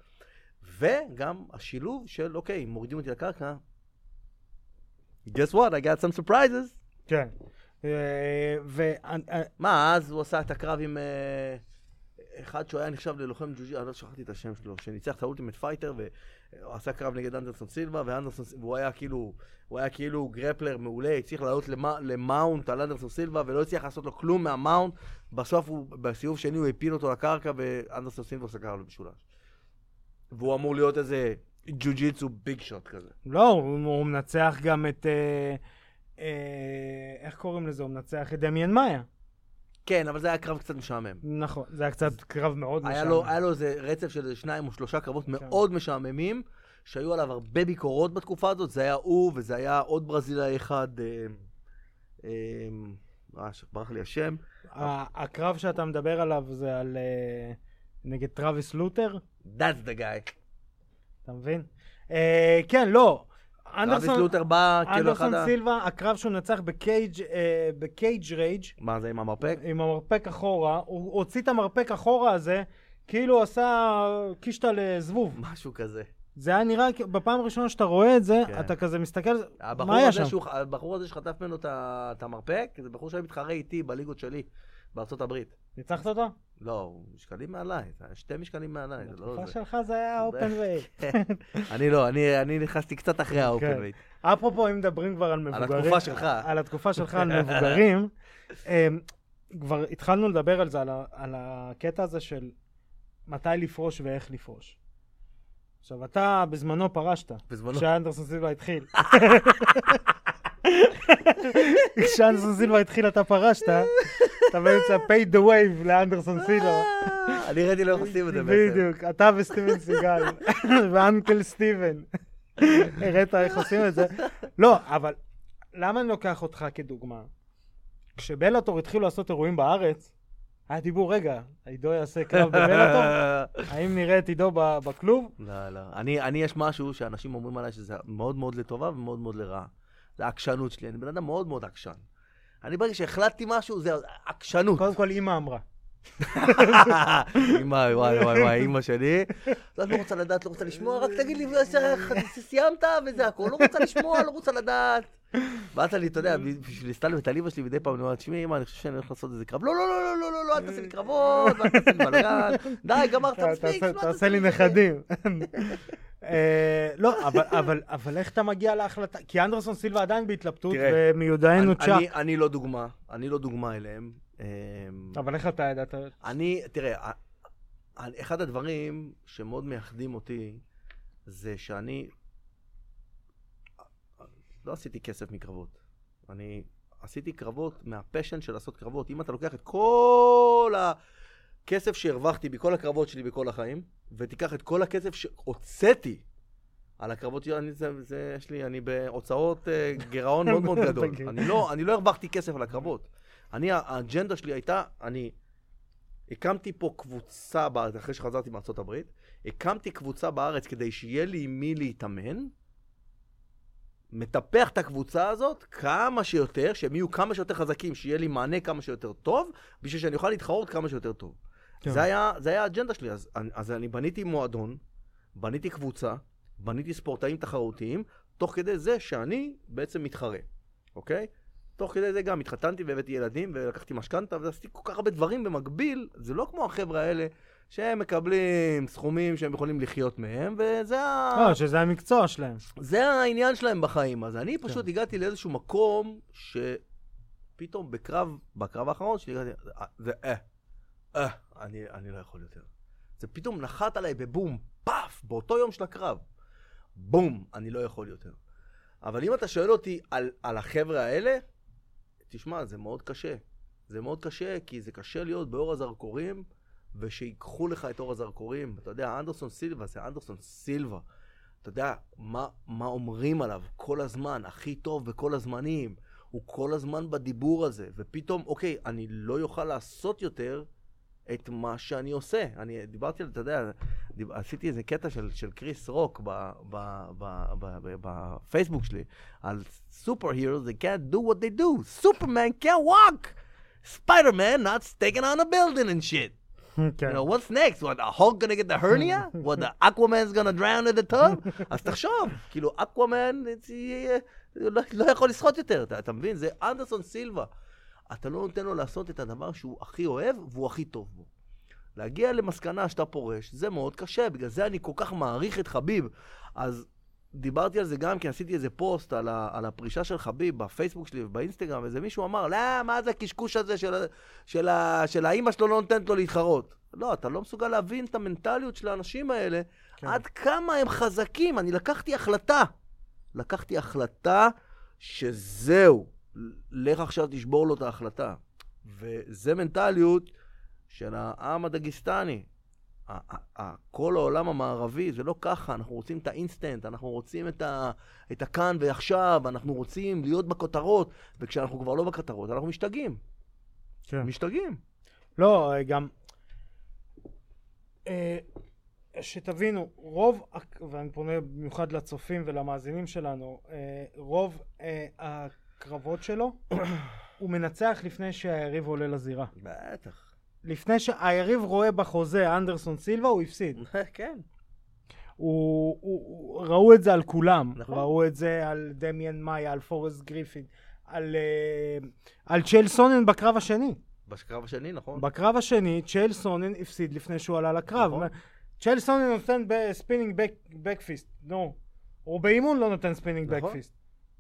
וגם השילוב של, אוקיי, מורידים אותי לקרקע. guess what, I got some surprises.
כן. אה, ואני-
מה, אז הוא עשה את הקרב עם אה, אחד שהוא היה נחשב ללוחם ג'ו-ג'י, אני לא שכחתי את השם שלו, שניצח את האולטימט פייטר, והוא עשה קרב נגד אנדרסון סילבה, ואנדרסון, ס- והוא היה כאילו, הוא היה כאילו גרפלר מעולה, הצליח לעלות למא- למאונט על אנדרסון סילבה, ולא הצליח לעשות לו כלום מהמאונט, בסוף הוא, בסיבוב שני הוא הפיל אותו לקרקע, ואנדרסון סילבה סגר לו במשולש. והוא אמור להיות איזה ג'ו-ג'יצו ביג שוט כזה.
לא, הוא, הוא מנצח גם את... אה, אה, איך קוראים לזה? הוא מנצח את דמיאן מאיה.
כן, אבל זה היה קרב קצת משעמם.
נכון, זה היה קצת קרב מאוד
היה
משעמם.
לו, היה לו איזה רצף של איזה שניים או שלושה קרבות
כן.
מאוד משעממים, שהיו עליו הרבה ביקורות בתקופה הזאת, זה היה הוא וזה היה עוד ברזילאי אחד, אה, אה, אה, שברח לי השם,
ה- הקרב שאתה מדבר עליו זה על... אה, נגד טראביס לותר,
That's the guy.
אתה מבין? אה, כן, לא.
אנדרסון
אנדרסון,
לותר בא, כאילו אחד
אנדרסון
ה...
סילבה, הקרב שהוא נצח בקייג' אה, בקייג' רייג'
מה זה עם המרפק? [LAUGHS]
עם המרפק אחורה, הוא הוציא את המרפק אחורה הזה, כאילו הוא עשה קישטה לזבוב.
משהו כזה.
זה היה נראה, כ- בפעם הראשונה שאתה רואה את זה,
כן.
אתה כזה מסתכל, על זה,
הבחור
מה היה
הזה
שם?
שהוא- הבחור הזה שחטף ממנו את ה- את המרפק, זה בחור שהיה מתחרה איתי בליגות שלי, בארצות הברית.
ניצחת אותו?
לא, הוא משקלים מעליי, זה היה שתי משקלים מעליי, זה לא
בתקופה
זה.
שלך זה היה אופן ריי.
אני לא, אני- אני נכנסתי קצת אחרי האופן
אפרופו, אם מדברים כבר על כן, מבוגרים...
התקופה שלך.
על התקופה שלך,
[LAUGHS]
על מבוגרים. אמ, כבר התחלנו לדבר על זה, על ה- על הקטע הזה של מתי לפרוש ואיך לפרוש. עכשיו, אתה בזמנו פרשת,
בזמנו.
כשאנדרסון סילבה
[LAUGHS]
התחיל. כשאנדרסון סילבה התחיל אתה פרשת, אתה באמצע paid the wave לאנדרסון סילבה.
אה, אני ראיתי לא איך עושים את זה בעצם.
בדיוק, אתה וסטיבן סיגל, [LAUGHS] ואנקל
[LAUGHS]
סטיבן. הראת איך עושים את זה. לא, אבל למה אני לוקח אותך כדוגמה? כשבלאטור התחילו לעשות אירועים בארץ, היה דיבור, רגע, עידו יעשה קרב בבלאטור? האם נראה את עידו ב- בכלוב?
[LAUGHS] לא, לא. אני, אני, יש משהו שאנשים אומרים עליי שזה מאוד מאוד לטובה ומאוד מאוד לרעה. זה העקשנות שלי, אני בן אדם מאוד מאוד עקשן. אני ברגע שהחלטתי משהו, זה עקשנות.
קודם כל, אימא אמרה.
[LAUGHS] אמא, וואי, וואי, וואי, אמא שלי. לא, את לא רוצה לדעת, לא רוצה לשמוע, רק תגיד לי, "ס- סיימת וזה הכול. לא רוצה לשמוע, לא רוצה לדעת. ואז אני, אתה יודע, בשביל להסתלבט על אמא שלי מדי פעם, אני אומר, תשמעי, אמא, אני חושב שאני הולך לעשות איזה קרב. לא, לא, לא, לא, לא, לא, לא, אל תעשה לי קרבות, ואל תעשה לי בלגן. די, גמרת
אתה-
מספיק.
תעשה-
לא, אל
תעשה לי
זה."
נכדים. [LAUGHS] אה, לא, אבל- אבל- אבל איך אתה מגיע להחלטה? כי אנדרסון סילבה עדיין בהתלבטות,
תראה,
ומיודענו
אני-
צ'אק.
אני- אני לא דוגמה, אני לא דוגמה אליהם. אמ,
אבל איך אתה ידעת?
אני, תראה, ה- ה- אחד הדברים שמאוד מייחדים אותי, זה שאני לא עשיתי כסף מקרבות. אני עשיתי קרבות מהפשן של לעשות קרבות. אם אתה לוקח את כל הכסף שהרווחתי בכל הקרבות שלי בכל החיים, ותיקח את כל הכסף שהוצאתי על הקרבות שלי, אני, זה, זה, יש לי, אני בהוצאות אה, גירעון מאוד מאוד גדול.
תגיד.
אני לא, אני לא הרווחתי כסף על הקרבות. אני, האג'נדה שלי הייתה, אני הקמתי פה קבוצה, בארץ, אחרי שחזרתי מארצות הברית, הקמתי קבוצה בארץ כדי שיהיה לי עם מי להתאמן, מטפח את הקבוצה הזאת כמה שיותר, שהם יהיו כמה שיותר חזקים, שיהיה לי מענה כמה שיותר טוב, בשביל שאני אוכל להתחרות כמה שיותר טוב.
כן.
זה, היה, זה היה האג'נדה שלי, אז, אני- אז אני בניתי מועדון, בניתי קבוצה, בניתי ספורטאים תחרותיים, תוך כדי זה שאני בעצם מתחרה, אוקיי? תוך כדי זה גם התחתנתי והבאתי ילדים ולקחתי משכנתה ועשיתי כל כך הרבה דברים במקביל, זה לא כמו החבר'ה האלה שהם מקבלים סכומים שהם יכולים לחיות מהם, וזה ה...
לא, שזה המקצוע שלהם.
זה העניין שלהם בחיים. אז אני פשוט
כן.
הגעתי לאיזשהו מקום שפתאום בקרב, בקרב האחרון שלי הגעתי, "אה, זה אה, אה, אני, אני לא יכול יותר. זה פתאום נחת עליי בבום, פאף, באותו יום של הקרב. בום, אני לא יכול יותר. אבל אם אתה שואל אותי על, על החבר'ה האלה, תשמע, זה מאוד קשה. זה מאוד קשה, כי זה קשה להיות באור הזרקורים, ושייקחו לך את אור הזרקורים. אתה יודע, אנדרסון סילבה זה אנדרסון סילבה. אתה יודע, מה, מה אומרים עליו כל הזמן, הכי טוב בכל הזמנים. הוא כל הזמן בדיבור הזה, ופתאום, אוקיי, אני לא יוכל לעשות יותר את מה שאני עושה. אני דיברתי על, אתה יודע, דיב, עשיתי איזה קטע של, של קריס רוק ב- ב- ב- ב- ב- בפייסבוק שלי, על סופר הירו, they can't do what they do, סופרמן can't walk, ספיידרמן not taking on a building and shit.
כן.
You know, what's next? What, the Hulk gonna get the hernia? What, the Aquaman's gonna drown in the tub? אז תחשוב, כאילו, אקוואמן לא, לא יכול לשחות יותר, אתה, אתה מבין? זה אנדרסון סילבה. אתה לא נותן לו לעשות את הדבר שהוא הכי אוהב והוא הכי טוב בו. להגיע למסקנה שאתה פורש, זה מאוד קשה, בגלל זה אני כל כך מעריך את חביב. אז דיברתי על זה גם כי עשיתי איזה פוסט על, ה, על הפרישה של חביב בפייסבוק שלי ובאינסטגרם, ואיזה מישהו אמר, לא, מה זה הקשקוש הזה של, ה- של, ה- של האימא שלו לא נותנת לו להתחרות. לא, אתה לא מסוגל להבין את המנטליות של האנשים האלה,
כן.
כן. עד כמה הם חזקים. אני לקחתי החלטה, לקחתי החלטה שזהו, לך עכשיו תשבור לו את ההחלטה. וזה מנטליות של העם הדגיסטני. ה- ה- ה- כל העולם המערבי, זה לא ככה, אנחנו רוצים את האינסטנט, אנחנו רוצים את, ה, את הכאן ועכשיו, אנחנו רוצים להיות בכותרות, וכשאנחנו כבר לא בכותרות, אנחנו משתגעים,
כן.
משתגעים.
לא, אה, גם... אה, שתבינו, רוב, הק- ואני פונה במיוחד לצופים ולמאזינים שלנו, אה, רוב אה, הקרבות שלו, [COUGHS] הוא מנצח לפני שהיריב עולה לזירה.
בטח.
לפני שהיריב רואה בחוזה אנדרסון סילבה, הוא הפסיד.
[LAUGHS] כן.
הוא, הוא, הוא, ראו את זה על כולם.
נכון.
ראו את זה על דמיאן מאיה, על פורסט גריפין, על, אה, על צ'ייל סונן בקרב השני.
בקרב השני, נכון.
בקרב השני, צ'ייל סונן הפסיד לפני שהוא עלה לקרב.
נכון.
צ'ייל סונן נותן ספינינג בקפיסט, נו. הוא באימון לא נותן ספינינג
נכון.
בקפיסט.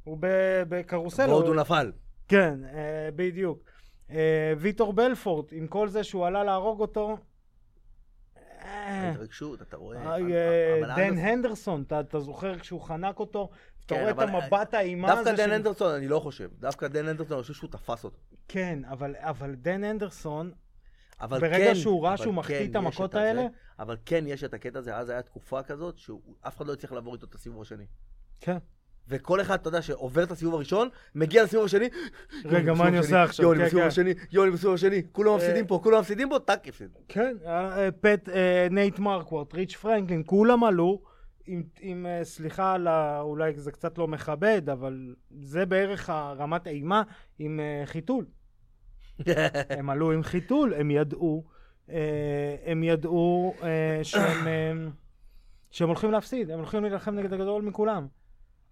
הוא ב- בקרוסל.
ועוד
הוא-
הוא נפל.
כן, אה, בדיוק. אה, ויטור בלפורט, עם כל זה שהוא עלה להרוג אותו... אה,
ההתרגשות, אתה רואה.
אה,
אבל-
אה,
אבל
דן
אנדרסון-
הנדרסון, אתה- אתה זוכר כשהוא חנק אותו? אתה
כן,
רואה את
אבל-
המבט האימה הזה?
דווקא דן
של-
הנדרסון, אני לא חושב. דווקא דן הנדרסון, אני חושב שהוא תפס אותו.
כן, אבל- אבל דן הנדרסון,
אבל
ברגע
כן,
שהוא ראה
אבל
שהוא מחטיא
כן,
את
יש
המכות
הזה,
האלה?
אבל כן, יש את הקטע הזה, אז היה תקופה כזאת שאף אחד לא הצליח לעבור איתו את הסיבוב השני.
כן.
וכל אחד, אתה יודע, שעובר את הסיבוב הראשון, מגיע לסיבוב השני,
רגע,
יוני
מה אני
בסיבוב
עושה
השני,
עכשיו?
יוני
כן,
בסיבוב
כן. אה.
השני, יוני בסיבוב השני, כולם מפסידים פה, כולם מפסידים פה, טאק, הפסיד.
[LAUGHS] כן, אה, אה, פט, אה, נייט מרקוורט, ריץ' פרנקלין, כולם עלו, עם, עם אה, סליחה על ה... אולי זה קצת לא מכבד, אבל זה בערך הרמת אימה עם אה, חיתול. הם עלו עם חיתול, הם ידעו, אה, הם ידעו אה, שהם, אה, שהם הולכים להפסיד, הם הולכים להילחם נגד הגדול מכולם.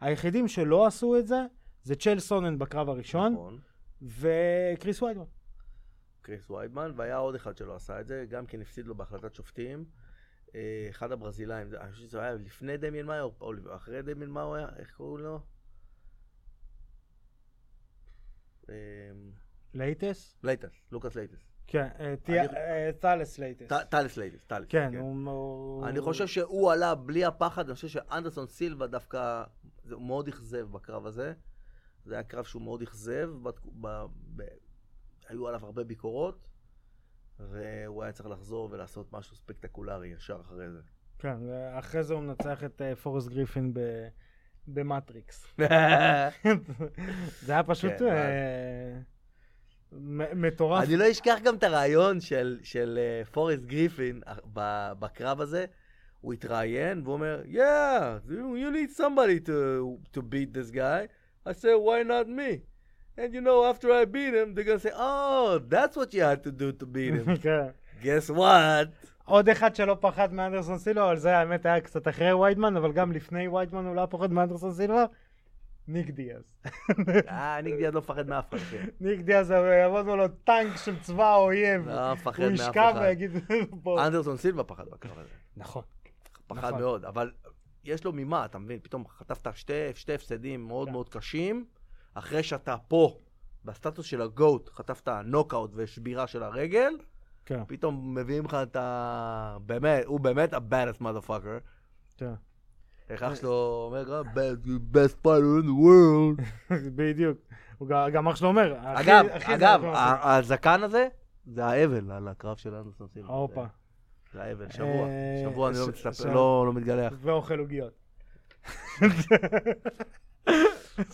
היחידים שלא עשו את זה, זה צ'ל סונן בקרב הראשון,
נכון.
וקריס ויידמן.
קריס ויידמן, והיה עוד אחד שלא עשה את זה, גם כן הפסיד לו בהחלטת שופטים. אה, אחד הברזילאים, זה- אני חושב שזה היה לפני דמיין מאיו, או אחרי דמיין מאיו היה, איך קוראים לו? אה,
לייטס?
לייטס, לוקאס לייטס.
כן, אה, תהיה-
אני-
אה, טלס לייטס.
ט- טליס לייטס, טליס.
כן, הוא- הוא...
אני חושב שהוא עלה בלי הפחד, אני חושב שאנדרסון סילבה דווקא, זה- הוא מאוד אכזב בקרב הזה. זה היה קרב שהוא מאוד אכזב, בתק- ב- ב- היו עליו הרבה ביקורות, והוא היה צריך לחזור ולעשות משהו ספקטקולרי ישר אחרי זה.
כן, אחרי זה הוא מנצח את אה, פורסט גריפין ב-
[LAUGHS]
במטריקס. זה היה פשוט
כן, ואז-
אה, מ- מטורף.
אני לא אשכח גם את הרעיון של, של אה, פורסט גריפין אה, ב- בקרב הזה. הוא הוא התראיין והוא אומר, yeah, you need somebody to, to beat this guy. I said, why not me? And you know, after I beat him, they're gonna say, oh, that's what you had to do to beat [LAUGHS] him.
[LAUGHS] כן.
Guess what?
עוד אחד שלא פחד מאנדרסון סילבה, אבל זה האמת היה קצת אחרי ויידמן, אבל גם לפני ויידמן הוא לא היה פוחד מאנדרסון סילבה, ניק
[LAUGHS]
דיאז.
אה, אני כבר לא מפחד מאף אחד. כן.
ניק דיאז הוא יעמוד מולו טנק של צבא האויב.
לא מפחד
הוא
מאף
ישכב
אחד.
ויגיד בוא.
אנדרסון סילבה פחד בקרב הזה.
נכון.
פחד
נכון.
מאוד, אבל יש לו ממה, אתה מבין? פתאום חטפת שתי, שתי הפסדים מאוד
כן.
מאוד קשים, אחרי שאתה פה, בסטטוס של הגוט, חטפת נוקאוט ושבירה של הרגל,
כן,
פתאום מביאים לך את ה... באמת, הוא באמת ה-baddest motherfucker.
כן.
איך אח שלו אומר, "Best- best fighter in the
[LAUGHS]
world.
בדיוק. הוא גם- גם אח שלו אומר. הכי-
אגב,
הכי זה
אגב,
נכון.
ה- הזקן הזה, זה האבל על הקרב של אנדרסון סילבה.
הופה.
זה האבל, שבוע.
אה,
שבוע אני לא
ש-
מצטפ-
ש-
לא לא מתגלח.
ואוכל
[LAUGHS]
עוגיות. [LAUGHS]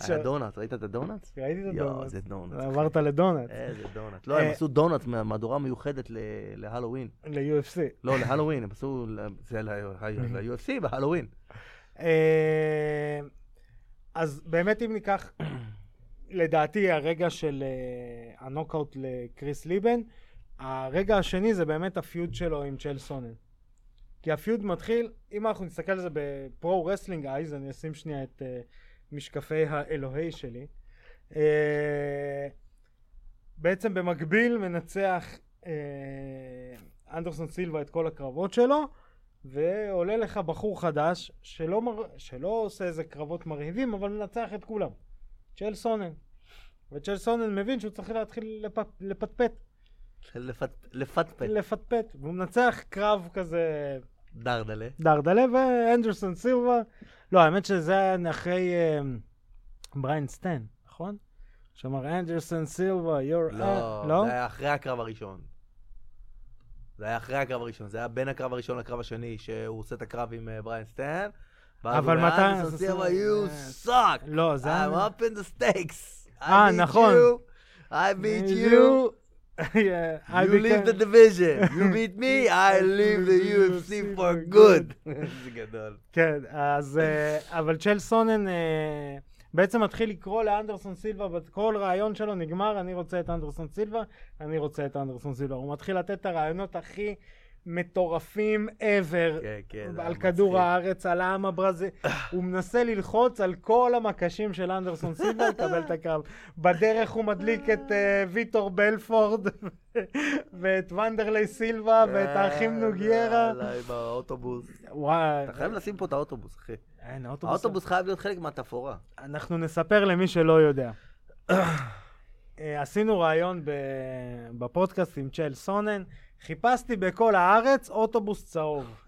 היה דונלדס, ראית את הדונלדס?
ראיתי את
יואו,
הדונלדס.
זה דונלדס.
עברת לדונלדס, [LAUGHS]
איזה דונלדס. לא, הם
אה,
עשו דונלדס מהמהדורה מיוחדת ל- להלואוין.
ל-UFC.
לא, להלואוין, הם עשו... ל-
[LAUGHS]
זה ל-UFC בהלואוין.
אה, אז באמת אם ניקח, לדעתי הרגע של אה, הנוקאוט לקריס ליבן, הרגע השני זה באמת הפיוד שלו עם צ'ל סונן. כי הפיוד מתחיל, אם אנחנו נסתכל על זה בפרו רסלינג אייז, אני אשים שנייה את אה, משקפי האלוהי שלי. אה, בעצם במקביל מנצח אה, אנדרסון סילבה את כל הקרבות שלו, ועולה לך בחור חדש שלא, מר... שלא עושה איזה קרבות מרהיבים, אבל מנצח את כולם. צ'ל סונן. וצ'ל סונן מבין שהוא צריך להתחיל לפ... לפטפט,
לפט- לפטפט.
לפטפט, והוא מנצח קרב כזה
דרדלה.
דרדלה ואנדרסון סילבה. לא, האמת שזה היה אחרי אה, בריין סטן, נכון? שאמר אנדרסון סילבה, you're...
לא,
a-" לא?
זה היה אחרי הקרב הראשון. זה היה אחרי הקרב הראשון, זה היה בין הקרב הראשון לקרב השני, שהוא עושה את הקרב עם אה, בריין סטן. ואז
אבל
הוא אומר,
מתי-
"אנדרסון
זה- זה-
סילבה, you
זה-
suck!
לא, זה
I'm
היה...
up in the stakes! I
אה,
beat
נכון. אה,
you. I beat you!
[LAUGHS] Yeah, I
You leave
became-
the division,
[LAUGHS]
you beat me, I leave the UFC for good. [LAUGHS] זה גדול.
כן, אז... אה, אבל צ'ל סונן אה, בעצם מתחיל לקרוא לאנדרסון סילבה, וכל רעיון שלו נגמר, אני רוצה את אנדרסון סילבה, אני רוצה את אנדרסון סילבה. הוא מתחיל לתת את הרעיונות הכי מטורפים ever.
כן, כן. זה היה
על כדור
מצחיק.
הארץ, על העם הברזי, הוא מנסה ללחוץ על כל המקשים של אנדרסון סילבה לקבל את הקרב. בדרך הוא מדליק את אה, ויטור בלפורד, ואת ונדרלי סילבה, ואת
כן,
האחים
יאללה,
נוגיירה.
יאללה, עם האוטובוס.
וואי,
אתה חייב לשים פה את האוטובוס, אחי.
אין, האוטובוס
האוטובוס חייב להיות חלק
[LAUGHS]
מהתפאורה.
אנחנו נספר למי שלא יודע. אה, עשינו ראיון ב- בפודקאסט עם צ'ל סונן, חיפשתי בכל הארץ אוטובוס צהוב.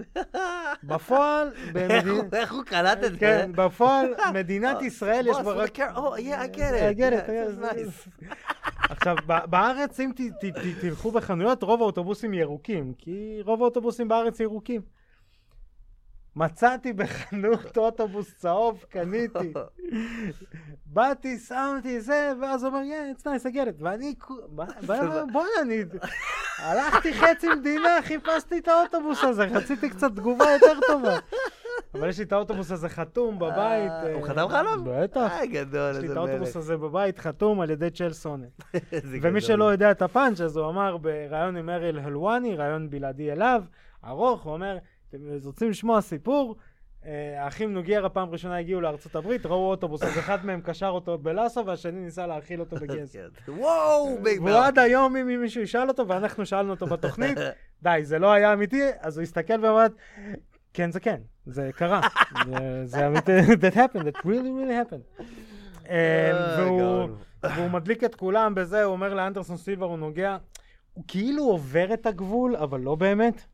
בפועל,
איך הוא-
במדינת...
איך הוא קלט את זה? אה,
כן, בפועל,
[LAUGHS]
מדינת ישראל יש
בוס,
בה
what
רק...
a car- Oh, yeah, I get
I
it.
get it,
Yeah, this
yeah,
is
it's-
nice.
עכשיו, ב- בארץ, אם ת- ת- ת- תלכו בחנויות, רוב האוטובוסים ירוקים, כי רוב האוטובוסים בארץ ירוקים. מצאתי בחנות [LAUGHS] אוטובוס צהוב, קניתי. באתי, שמתי זה, ואז הוא אומר, yeah, it's nice, I get it. ואני, כו-
[LAUGHS]
ב- ב- בוא'נה, אני... הלכתי חצי מדינה, חיפשתי את האוטובוס הזה, רציתי קצת תגובה יותר טובה. אבל יש לי את האוטובוס הזה חתום בבית.
אה, הוא
אה,
חתם לך עליו?
בטח.
אה, גדול,
יש לי
איזה
את
מלך.
האוטובוס הזה בבית, חתום על ידי צ'ל סונן.
[LAUGHS] איזה גדול.
ומי שלא יודע את הפאנץ', אז הוא אמר בריאיון עם אריל הלואני, ראיון בלעדי אליו, ארוך, הוא אומר, אתם רוצים לשמוע סיפור? אה, האחים נוגיירה פעם ראשונה הגיעו לארצות הברית, ראו אוטובוס, אז אחד מהם קשר אותו בלאסו והשני ניסה להאכיל אותו בגז.
כן. וואו, ביג
והוא עד היום, אם מישהו ישאל אותו, ואנחנו שאלנו אותו בתוכנית, די, זה לא היה אמיתי, אז הוא הסתכל ואמר, כן זה כן, זה קרה, זה- זה אמיתי, that happened, that really really happened. אה, והוא... והוא מדליק את כולם בזה, הוא אומר לאנדרסון סילבר, הוא נוגע, הוא כאילו עובר את הגבול, אבל לא באמת.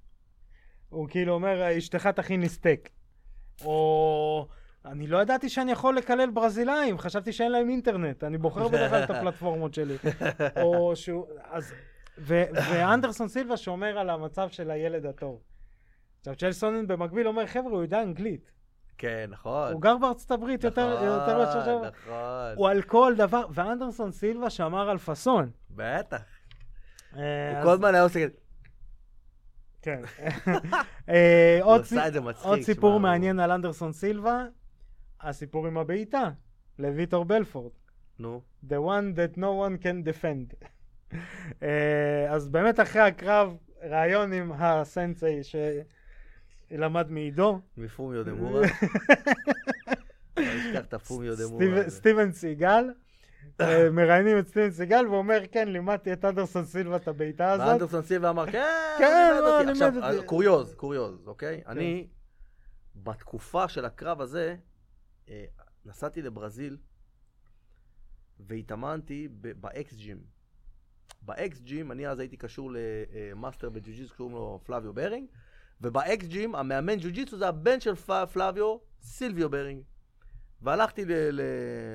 הוא כאילו אומר, אשתך תכין לי סטייק. או, אני לא ידעתי שאני יכול לקלל ברזילאים, חשבתי שאין להם אינטרנט, אני בוחר בדרך כלל את הפלטפורמות שלי. או שהוא, אז, ו, ואנדרסון סילבה שומר על המצב של הילד הטוב. עכשיו, צ'ל סונן במקביל אומר, חבר'ה, הוא יודע אנגלית.
כן, נכון.
הוא גר בארצות הברית יותר, יותר מאשר...
נכון, נכון.
הוא על כל דבר, ואנדרסון סילבה שמר על פאסון.
בטח.
אה,
הוא
אז-
כל הזמן היה עושה כזה.
כן. אה,
[LAUGHS] הוא
עוד
עשה את זה מצחיק.
עוד
שמע,
סיפור
הוא-
מעניין על אנדרסון סילבה, הסיפור עם הבעיטה, לויטור בלפורד.
נו.
The one that no one can defend. [LAUGHS] אה, אז באמת אחרי הקרב, ראיון עם הסנסei שלמד מעידו,
מפומיו
[LAUGHS]
דמורה. לא אשכח את הפומיו דמורה.
סטיב-
הזה.
סטיבן סיגל.
[LAUGHS]
אה, מראיינים את סטיבן סיגל ואומר כן לימדתי את אנדרסון סילבה את הבעיטה הזאת.
ואנדרסון סילבה אמר, כן,
כן,
הוא
לא,
לימד אותי.
לימד
עכשיו,
אותי. כן.
קוריוז, קוריוז, אוקיי? אני, בתקופה של הקרב הזה, אה, נסעתי לברזיל והתאמנתי ב- באקס ג'ים. באקס ג'ים, אני אז הייתי קשור למאסטר בג'ו-ג'יצו, קוראים לו פלביו ברינג, ובאקס ג'ים, המאמן ג'ו-ג'יצו זה הבן של פ- פלביו, סילביו ברינג. והלכתי ל- ל-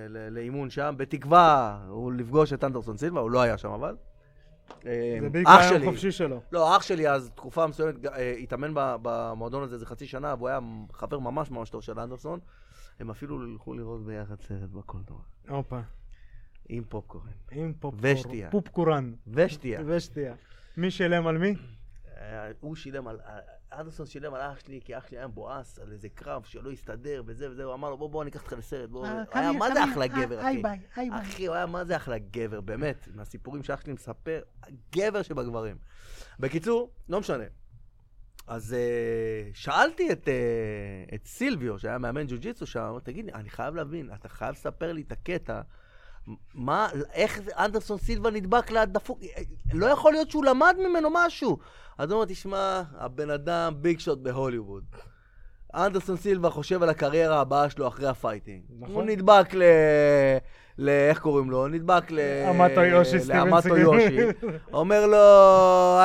ל- לאימון שם, בתקווה הוא לפגוש את אנדרסון סילבה, הוא לא היה שם אבל. אה,
זה
אח
בעיקר היום
שלי.
חופשי שלו.
לא, אח שלי אז תקופה מסוימת ג- אה, התאמן ב- במועדון הזה איזה חצי שנה, והוא היה חבר ממש ממש טוב של אנדרסון. הם אפילו הלכו לראות ביחד סרט בקולנוע,
הופה.
עם פופקורן.
עם
ושתייה.
פופקורן. פופקורן.
ושתייה.
ושתייה. מי שילם על מי?
אה, הוא שילם על... אה, אנדרסון שילם על אח שלי, כי אח שלי היה מבואס על איזה קרב שלא הסתדר וזה וזה, הוא אמר לו, בוא, בוא, אני אקח אותך לסרט.
אה,
בוא. הוא אה, היה מה זה אחלה גבר, אחי. אחי, הוא היה מה זה אחלה גבר, באמת. מהסיפורים שאח שלי מספר, הגבר שבגברים. בקיצור, לא משנה. אז uh, שאלתי את, uh, את סילביו, שהיה מאמן ג'ו-ג'יצו שם, אמרתי, תגיד לי, אני חייב להבין, אתה חייב לספר לי את הקטע, מה, איך זה- אנדרסון סילבה נדבק לדפוק, אה, לא יכול להיות שהוא למד ממנו משהו. אז הוא אומר, תשמע, הבן אדם ביג שוט בהוליווד. אנדרסון סילבה חושב על הקריירה הבאה שלו אחרי הפייטינג.
נכון.
הוא נדבק ל... ל... איך קוראים לו? נדבק ל...
אמטו
אה,
יושי, אה, סטיבן
לאמטו
סגל.
יושי. אומר לו,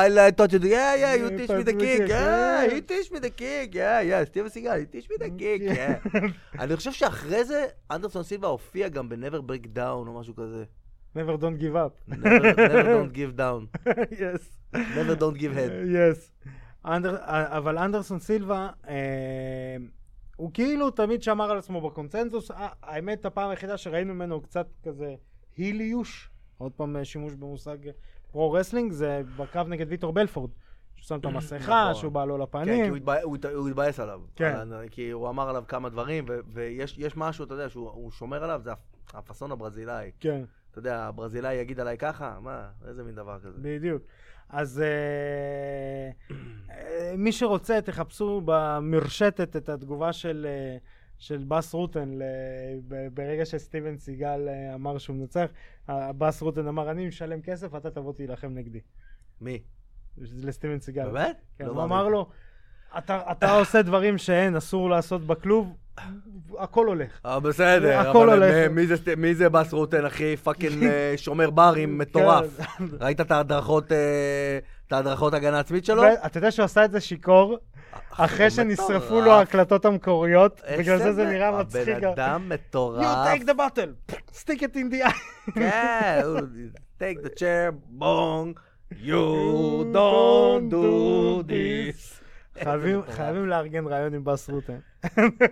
I like touch you, yeah, yeah, you teach me the kick, yeah, you teach me the kick, yeah, yeah, סטיבן סיגל, you teach me the kick, yeah. אני חושב שאחרי זה, אנדרסון סילבה הופיע גם ב-Never Break Down או משהו כזה.
[LAUGHS] never don't give up. [LAUGHS]
Never never don't give down,
yes. אה,
never don't give
[LAUGHS]
head. כן,
יס. אה, אבל אנדרסון סילבה, אה, הוא כאילו תמיד שמר על עצמו בקונצנזוס. אה, האמת, הפעם היחידה שראינו ממנו הוא קצת כזה היליוש, עוד פעם אה, שימוש במושג פרו-רסלינג, זה בקרב נגד ויטור בלפורד. שהוא שם את המסכה,
נכון.
שהוא בא לו
כן, כי הוא
לפנים.
התבא- הוא הת- הוא התבאס עליו.
כן.
על ה- כי הוא אמר עליו כמה דברים, ו- ויש יש משהו, אתה יודע, שהוא הוא שומר עליו, זה הפ- הפאסון הברזילאי.
כן,
אתה יודע, הברזילאי יגיד עליי ככה? מה, איזה מין דבר כזה.
בדיוק. אז אה, אה, מי שרוצה, תחפשו במרשתת את התגובה של... אה, של בס רוטן, ל- ב- ברגע שסטיבן סיגל אה, אמר שהוא מנצח, ה- בס רוטן אמר, אני משלם כסף, אתה תבוא תילחם נגדי.
מי?
זה לסטיבן סיגל.
באמת?
כן,
לא
הוא
מאמין.
אמר לו, "אתה- אתה עושה דברים שאין, אסור לעשות בכלוב, הכל הולך.
אה, בסדר,
הכל
אבל
הולך.
מ- מי זה סט- מי זה בס רוטן, אחי?
[LAUGHS]
פאקינג אה, שומר ברים מטורף.
כן.
ראית את ההדרכות, אה, את ההדרכות הגנה עצמית שלו?
אתה יודע שהוא עשה את זה שיכור, אחרי
הוא מטורף.
שנשרפו לו ההקלטות המקוריות,
איך
בגלל זה זה נראה
אה, הבן
מצחיק.
אדם
You
מטורף.
take the bottle, stick it in the eye.
כן, הוא take the chair, בונג, you don't do this.
חייבים-
מטורף.
חייבים לארגן ראיון עם בס רוטן.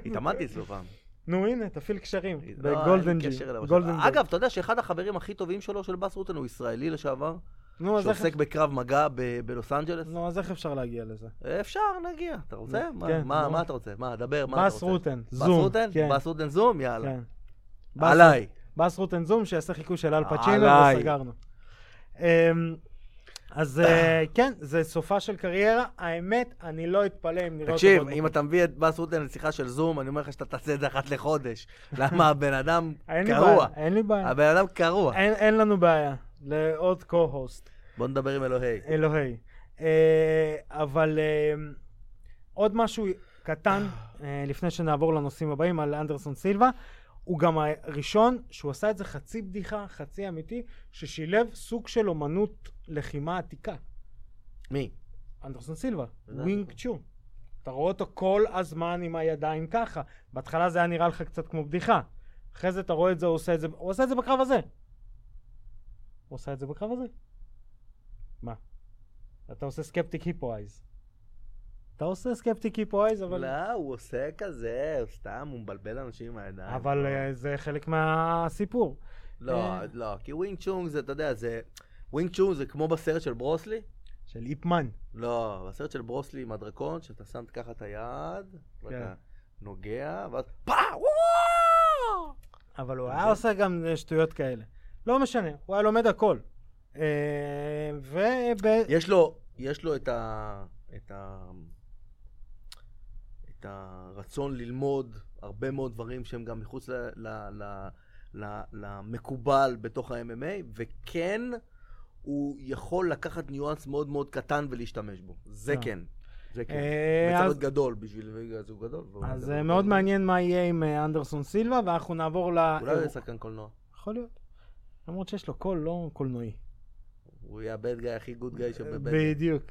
התאמנתי אצלו פעם.
נו הנה, תפעיל קשרים.
לא, אין לי
בגולדן ג'י.
קשר אליו.
גולדן ג'י.
אגב, אתה יודע שאחד החברים הכי טובים שלו, של בס רוטן, הוא ישראלי לשעבר,
נו, אז איך-
שעוסק בקרב מגע ב- בלוס אנג'לס.
נו, אז איך אפשר להגיע לזה?
אפשר, נגיע. אתה רוצה? מה-
כן,
מה
נו.
מה אתה רוצה? מה, דבר, מה אתה רוצה?
בס רוטן,
בס
זום.
רוטן?
כן,
בס רוטן זום? יאללה.
כן. בס-
עליי.
בס רוטן זום, שיעשה חיקוי של אל פצ'ינו,
עליי.
וסגרנו. אמ, אז
[COUGHS]
אה, כן, זה סופה של קריירה. האמת, אני לא אתפלא אם נראה אותו...
תקשיב,
בעוד
אם
מקום.
אתה מביא את בס רוטן לשיחה של זום, אני אומר לך שאתה תעשה את זה אחת
[LAUGHS]
לחודש. למה הבן אדם
אין לי
קרוע.
בעיה, אין לי בעיה.
הבן אדם קרוע.
אין- אין לנו בעיה. לעוד co-host.
בוא נדבר עם אלוהי.
אלוהי. אה, אבל אה, עוד משהו קטן, אה, לפני שנעבור לנושאים הבאים, על אנדרסון סילבה. הוא גם הראשון שהוא עשה את זה חצי בדיחה, חצי אמיתי, ששילב סוג של אומנות לחימה עתיקה.
מי?
אנדרסון סילבה,
בוודאי.
ווינג צ'ו. אתה רואה אותו כל הזמן עם הידיים ככה. בהתחלה זה היה נראה לך קצת כמו בדיחה. אחרי זה אתה רואה את זה, הוא עושה את זה, הוא עושה את זה בקרב הזה. הוא עושה את זה בקרב הזה. מה? אתה עושה סקפטיק היפו אייז. אתה עושה סקפטיק היפו אייז, אבל...
לא, הוא עושה כזה, הוא סתם, הוא מבלבל אנשים עם הידיים.
אבל אה, זה חלק מהסיפור.
לא,
אה.
לא, כי ווינג צ'ונג זה, אתה יודע, זה... ווינג צ'ונג זה כמו בסרט של ברוסלי,
של איפמן.
לא, בסרט של ברוסלי עם הדרקון, שאתה שם ככה את היד,
כן.
ואתה נוגע, ואז פאו!
אבל הוא
אתה
היה
מבין?
עושה גם אה, שטויות כאלה. לא משנה, הוא היה לומד הכל. אה, וב...
יש לו, יש לו את ה... את ה... את הרצון ללמוד הרבה מאוד דברים שהם גם מחוץ ל, ל, ל, ל, למקובל בתוך ה-MMA, וכן הוא יכול לקחת ניואנס מאוד מאוד קטן ולהשתמש בו. זה
אה.
כן. זה כן.
אה,
וצריך
אז-
להיות גדול בשביל... בגלל זה הוא גדול. והוא
אז
גדול.
אה, מאוד מעניין מה יהיה עם אה, אנדרסון סילבה, ואנחנו נעבור ל...
אולי הוא יהיה שחקן קולנוע.
יכול להיות. למרות שיש לו קול לא קולנועי. אה,
הוא יהיה הבד גיא הכי גוד גיא שבבד.
בדיוק.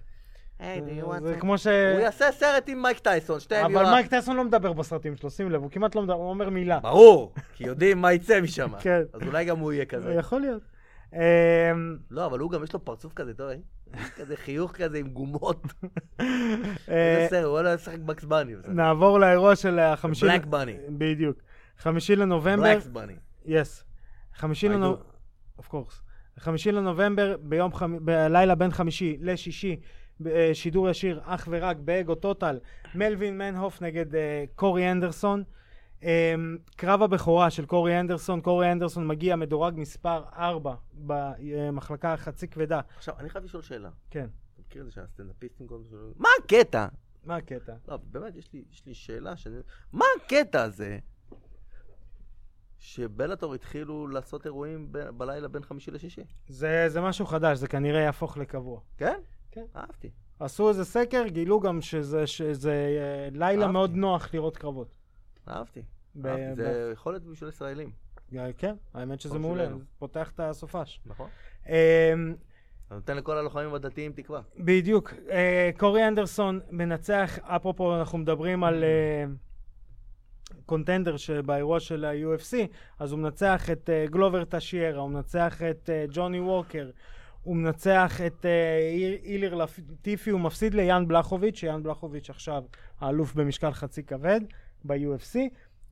אה, זה כמו ש...
הוא יעשה סרט עם מייק טייסון, שתיהם
אבל
יהיו...
מייק טסון לא מדבר בסרטים שלו, שים לב, הוא כמעט לא מדבר, הוא אומר מילה.
ברור, כי יודעים מה יצא משם.
כן,
אז אולי גם הוא יהיה כזה.
יכול להיות. אה,
לא, אבל הוא גם יש לו פרצוף כזה, אתה רואה? יש כזה חיוך כזה עם גומות.
אה,
איזה סרט, הוא לא ישחק בקס בני. בסדר.
נעבור לאירוע של החמישי...
בלק בני.
בדיוק. חמישי לנובמבר.
בלקס בני.
יס. חמישי
I
לנובמבר, אוף קורס. חמישי לנובמבר, ביום חמ... בלילה בין חמישי לשישי, ב- אה, שידור ישיר אך ורק באגו טוטל, מלווין מנהוף נגד אה, קורי אנדרסון. אה, קרב הבכורה של קורי אנדרסון, קורי אנדרסון מגיע מדורג מספר 4 במחלקה החצי כבדה.
עכשיו, אני חייב לשאול שאלה.
כן,
אתה מכיר את זה שהסטנדאפיסטים כל הזמן שואלים, מה הקטע?
מה הקטע?
לא, באמת, יש לי, יש לי שאלה שאני... מה הקטע הזה שבלאטור התחילו לעשות אירועים ב... בלילה בין חמישי לשישי?
זה, זה משהו חדש, זה כנראה יהפוך לקבוע.
כן?
כן.
אהבתי.
עשו איזה סקר, גילו גם שזה, שזה אה, לילה
אהבתי.
מאוד נוח לראות קרבות.
אהבתי.
ב-
אהבתי.
ב-
זה יכול להיות בשביל ישראלים,
אה, כן, האמת שזה
טוב
מעולה,
שלנו.
זה פותח את הסופש.
נכון?
אה,
אתה נותן לכל הלוחמים הדתיים תקווה.
בדיוק, אה, קורי אנדרסון מנצח, אפרופו אנחנו מדברים על אה, קונטנדר שבאירוע של ה-UFC, אז הוא מנצח את אה, גלובר טשיירה, הוא מנצח את אה, ג'וני ווקר, הוא מנצח את אה, איר- איליר לטיפי, הוא מפסיד ליאן בלחוביץ', שיאן בלחוביץ' עכשיו האלוף במשקל חצי כבד ב-UFC,